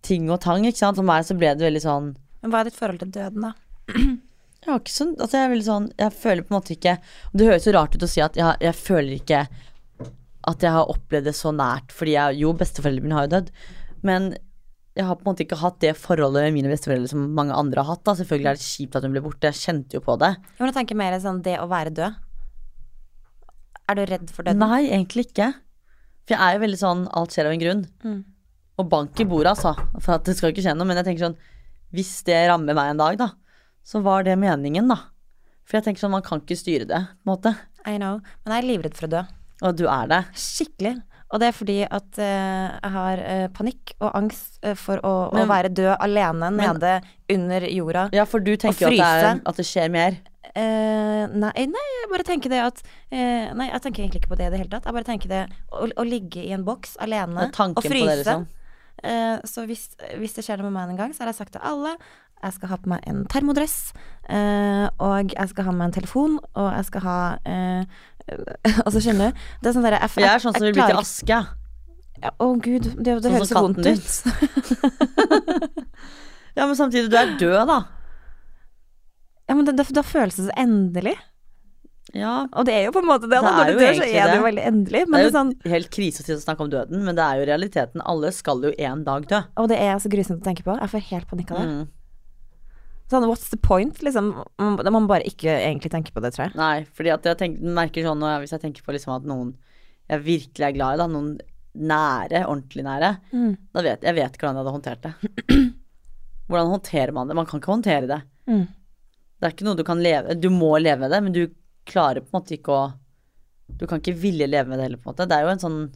S1: ting og tang, ikke sant. For meg så ble det veldig sånn
S2: Men hva er ditt forhold til døden, da?
S1: Jeg har ikke sånn, altså jeg er veldig sånn Jeg føler på en måte ikke Det høres jo rart ut å si at jeg, jeg føler ikke At jeg har opplevd det så nært Fordi jeg, jo, besteforeldrene mine har jo dødd Men jeg har på en måte ikke hatt det forholdet Med mine besteforeldre som mange andre har hatt da. Selvfølgelig er det kjipt at hun ble borte, jeg kjente jo på det
S2: Jeg må tenke mer sånn det å være død. Er du redd for døden?
S1: Nei, egentlig ikke For jeg er jo veldig sånn, alt skjer av en grunn
S2: Mm.
S1: Og bank i bordet altså For at det skal jo ikke skje noe, men jeg tenker sånn Hvis det rammer meg en dag da Så var det meningen da For jeg tenker sånn, man kan ikke styre det, på en måte
S2: I know. Men jeg er livredd for å dø.
S1: Og du er det
S2: Skikkelig. Og det er fordi at eh, jeg har eh, panikk og angst eh, for å,
S1: Men-
S2: å være død alene nede under jorda.
S1: Ja, for du tenker jo at det, er,
S2: fryse.
S1: at det skjer mer.
S2: Eh, nei, nei, jeg bare tenker det at eh, Nei, jeg tenker egentlig ikke på det i det hele tatt. Jeg bare tenker det å, å ligge i en boks alene
S1: Det er tanken
S2: og
S1: på
S2: fryse.
S1: det, liksom.
S2: Eh, så hvis, hvis det skjer noe med meg en gang, så har jeg sagt til alle jeg skal ha på meg en termodress, eh, og jeg skal ha med meg en telefon, og jeg skal ha eh, Altså, skjønner du? Det er sånn derre
S1: For jeg er sånn som vil bli til aske.
S2: Å, gud, det, det
S1: Sånn
S2: høres så
S1: som
S2: vondt
S1: katten
S2: ut.
S1: Ja, men samtidig, du er død, da.
S2: Ja, men det, det, da føles det så endelig.
S1: Ja.
S2: Og det er jo på en måte det, da.
S1: Det er
S2: Når
S1: jo
S2: du dør, så
S1: egentlig
S2: er det jo
S1: det.
S2: veldig endelig. Men
S1: Det
S2: det
S1: er
S2: er
S1: jo
S2: sånn
S1: helt krise til å snakke om døden, men det er jo realiteten. Alle skal jo en dag dø.
S2: Og det er så grusomt å tenke på. Jeg får helt panikk av det.
S1: Mm.
S2: Sånn, what's the point, liksom? Man man må bare ikke egentlig tenke på det, tror jeg.
S1: Nei, fordi at jeg tenker, merker sånn når jeg- Hvis jeg tenker på liksom at noen jeg virkelig er glad i, da, noen nære, ordentlig nære,
S2: Mm.
S1: da vet jeg vet ikke hvordan jeg hadde håndtert det. Hvordan håndterer man det? Man kan ikke håndtere det.
S2: Mm.
S1: Det er ikke noe du kan leve Du må leve med det, men du klarer på en måte ikke å Du kan ikke ville leve med det heller, på en måte. Det er jo en sånn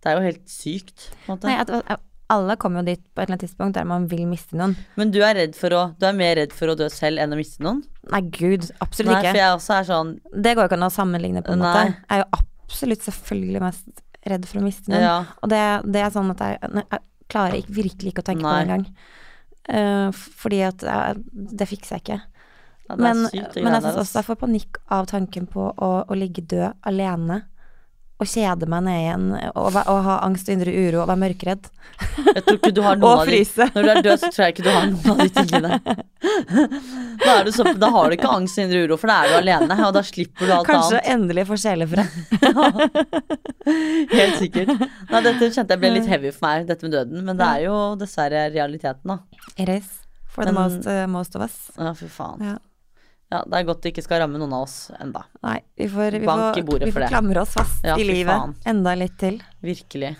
S1: Det er jo helt sykt, på en måte.
S2: Nei, at, at- alle kommer jo dit på et eller annet tidspunkt der man vil miste noen.
S1: Men du er, redd for å, du er mer redd for å dø selv enn å miste noen?
S2: Nei, gud, absolutt
S1: Nei, for
S2: ikke.
S1: jeg også er sånn
S2: Det går jo ikke an å sammenligne på en
S1: Nei.
S2: måte. Jeg er jo absolutt selvfølgelig mest redd for å miste noen.
S1: Ja.
S2: Og det, det er sånn at jeg, nei, jeg klarer ikke, virkelig ikke å tenke på
S1: Nei.
S2: det engang. Eh, f- fordi at jeg, det fikser jeg ikke.
S1: ja, det
S2: Men,
S1: er sykt, det greiene
S2: men jeg syns
S1: der,
S2: også jeg får panikk av tanken på å, å ligge død alene. Og kjede meg ned igjen, og, væ- og ha angst og indre uro og være mørkredd.
S1: ass. Jeg tror ikke du har noen
S2: Og
S1: av de
S2: fryse.
S1: Når du er død, så tror jeg ikke du har noen av de tingene. Da, er du så, da har du ikke angst og indre uro, for da er du alene, og da slipper du alt
S2: Kanskje
S1: annet.
S2: endelig få sjelefred.
S1: Helt sikkert. Nei, dette kjente jeg ble litt heavy for meg, dette med døden, men det er jo dessverre realiteten, da.
S2: It is for the
S1: Men-
S2: most, eh, most of us.
S1: Ja, fy faen.
S2: Ja.
S1: Ja, det er godt det ikke skal ramme noen av oss enda.
S2: Nei, vi får, vi
S1: Bank i
S2: får,
S1: bordet
S2: vi
S1: for
S2: får
S1: det.
S2: klamre oss fast
S1: Ja,
S2: i
S1: fy
S2: livet
S1: faen.
S2: enda litt til.
S1: Virkelig.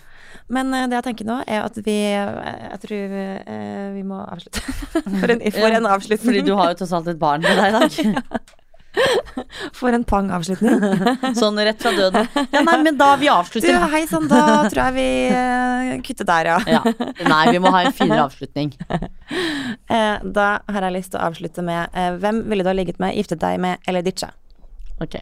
S2: Men eh, det jeg tenker nå, er at vi eh, Jeg tror eh, vi må avslutte. for en,
S1: Ja,
S2: for en avslutning.
S1: Fordi du har jo tross alt et barn med deg i dag.
S2: For en pang avslutning.
S1: Sånn rett fra døden. Ja, nei, men da vi
S2: Du,
S1: avslutter.
S2: hei sann, da tror jeg vi eh, kutter der, ja.
S1: Ja. Nei, vi må ha en finere avslutning.
S2: Eh, Da har jeg lyst til å avslutte med eh, Hvem ville du ha ligget med, giftet deg med eller ditcha?
S1: Ok.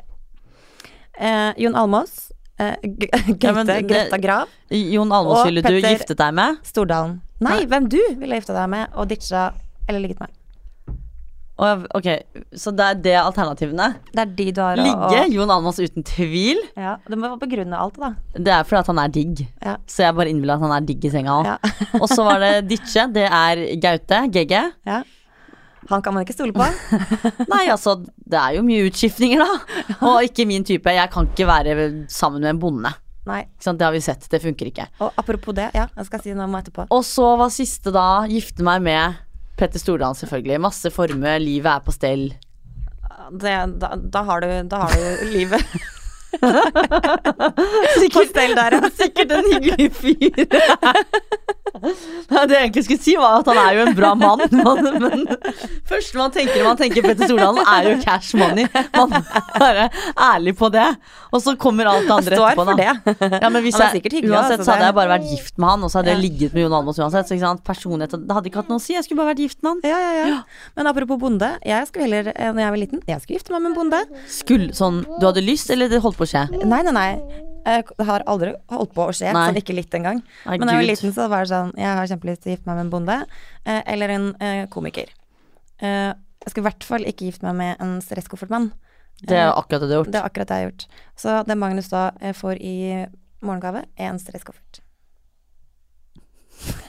S2: Eh, Jon Almås, eh, G-
S1: Ja, men
S2: Gaute
S1: det-
S2: Grøtta Grav,
S1: Jon Almaas
S2: Og
S1: ville du
S2: Petter-
S1: giftet deg med?
S2: Stordalen. Nei, hvem du ville gifta deg med og ditcha eller ligget med?
S1: Og, ok, så det er det alternativene.
S2: Det er de du har å-
S1: Ligge Jon Almaas uten tvil.
S2: å ja, Du må begrunne alt, da.
S1: Det er fordi at han er digg.
S2: Ja.
S1: Så jeg bare innbiller at han er digg i senga òg.
S2: Ja.
S1: Og så var det ditche. Det er Gaute. GG.
S2: ja. Han kan man ikke stole på.
S1: Nei, altså, det er jo mye utskiftninger, da. Og ikke min type. Jeg kan ikke være sammen med en bonde.
S2: Nei.
S1: Ikke sant? Det har vi sett. Det funker ikke.
S2: Og apropos det, ja, jeg skal si noe om etterpå.
S1: Og så var siste da gifte meg med Petter Stordalen, selvfølgelig. Masse formue, livet er på stell.
S2: Det, da, da, har du, da har du livet på
S1: Sikkert,
S2: stell der, ja.
S1: sikkert en hyggelig fyr. Nei, det jeg egentlig skulle si, var at han er jo en bra mann. Men, men første man tenker når man tenker Petter Stordalen, er jo cash money. Man må være ærlig på det. Og så kommer alt det andre
S2: Står
S1: etterpå,
S2: for
S1: da.
S2: det.
S1: Ja, men hvis
S2: Han er
S1: jeg,
S2: sikkert hyggelig,
S1: uansett
S2: altså,
S1: så hadde
S2: det-
S1: jeg bare vært gift med han, og så hadde jeg
S2: Ja.
S1: ligget med Jon Almaas uansett. Så ikke sant? Personlighet Det hadde ikke hatt noe å si. Jeg skulle bare vært gift med han.
S2: Ja, ja, ja. Men apropos bonde, jeg skulle heller, eh, når jeg var liten, jeg skulle gifte meg med en bonde.
S1: Skulle sånn Du hadde lyst, eller det holdt på å skje?
S2: Nei, nei, nei. Jeg k- har aldri holdt på å skje,
S1: Nei.
S2: sånn ikke litt engang.
S1: Nei,
S2: Men da jeg var
S1: Gud.
S2: liten, så var det sånn, jeg har kjempelyst til å gifte meg med en bonde, eh, eller en eh, komiker. Eh, jeg skulle i hvert fall ikke gifte meg med en stresskoffertmann.
S1: Det er jo akkurat det du har gjort.
S2: Det er akkurat det jeg har gjort. Så det Magnus da eh, får i morgengave, er en stresskoffert.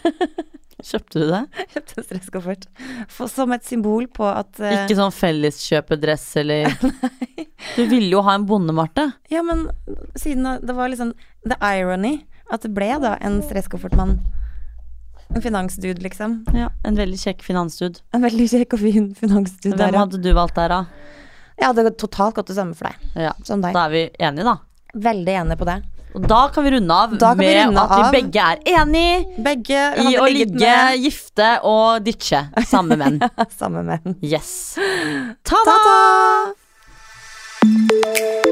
S1: Kjøpte du det?
S2: Jeg Kjøpte en stresskoffert. For, som et symbol på at eh,
S1: Ikke sånn felleskjøpedress eller Du ville jo ha en bonde, Marte.
S2: Ja, men siden det var liksom the irony at det ble da en stresskoffertmann. En finansdude, liksom.
S1: Ja, en veldig kjekk finansdude.
S2: En veldig kjekk og fin finansdude.
S1: Hvem
S2: Der, ja.
S1: hadde du valgt der, da?
S2: Jeg hadde totalt gått det samme for deg
S1: Ja,
S2: som deg.
S1: Da er vi enige, da.
S2: Veldig enig på det.
S1: Og da kan vi runde av
S2: Da kan vi
S1: med
S2: runde
S1: at
S2: av.
S1: vi begge er enige
S2: Begge
S1: i
S2: hadde
S1: å
S2: ligget
S1: ligge, gifte og ditche samme menn.
S2: med samme menn.
S1: Yes. Ta det!
S2: Ta-ta!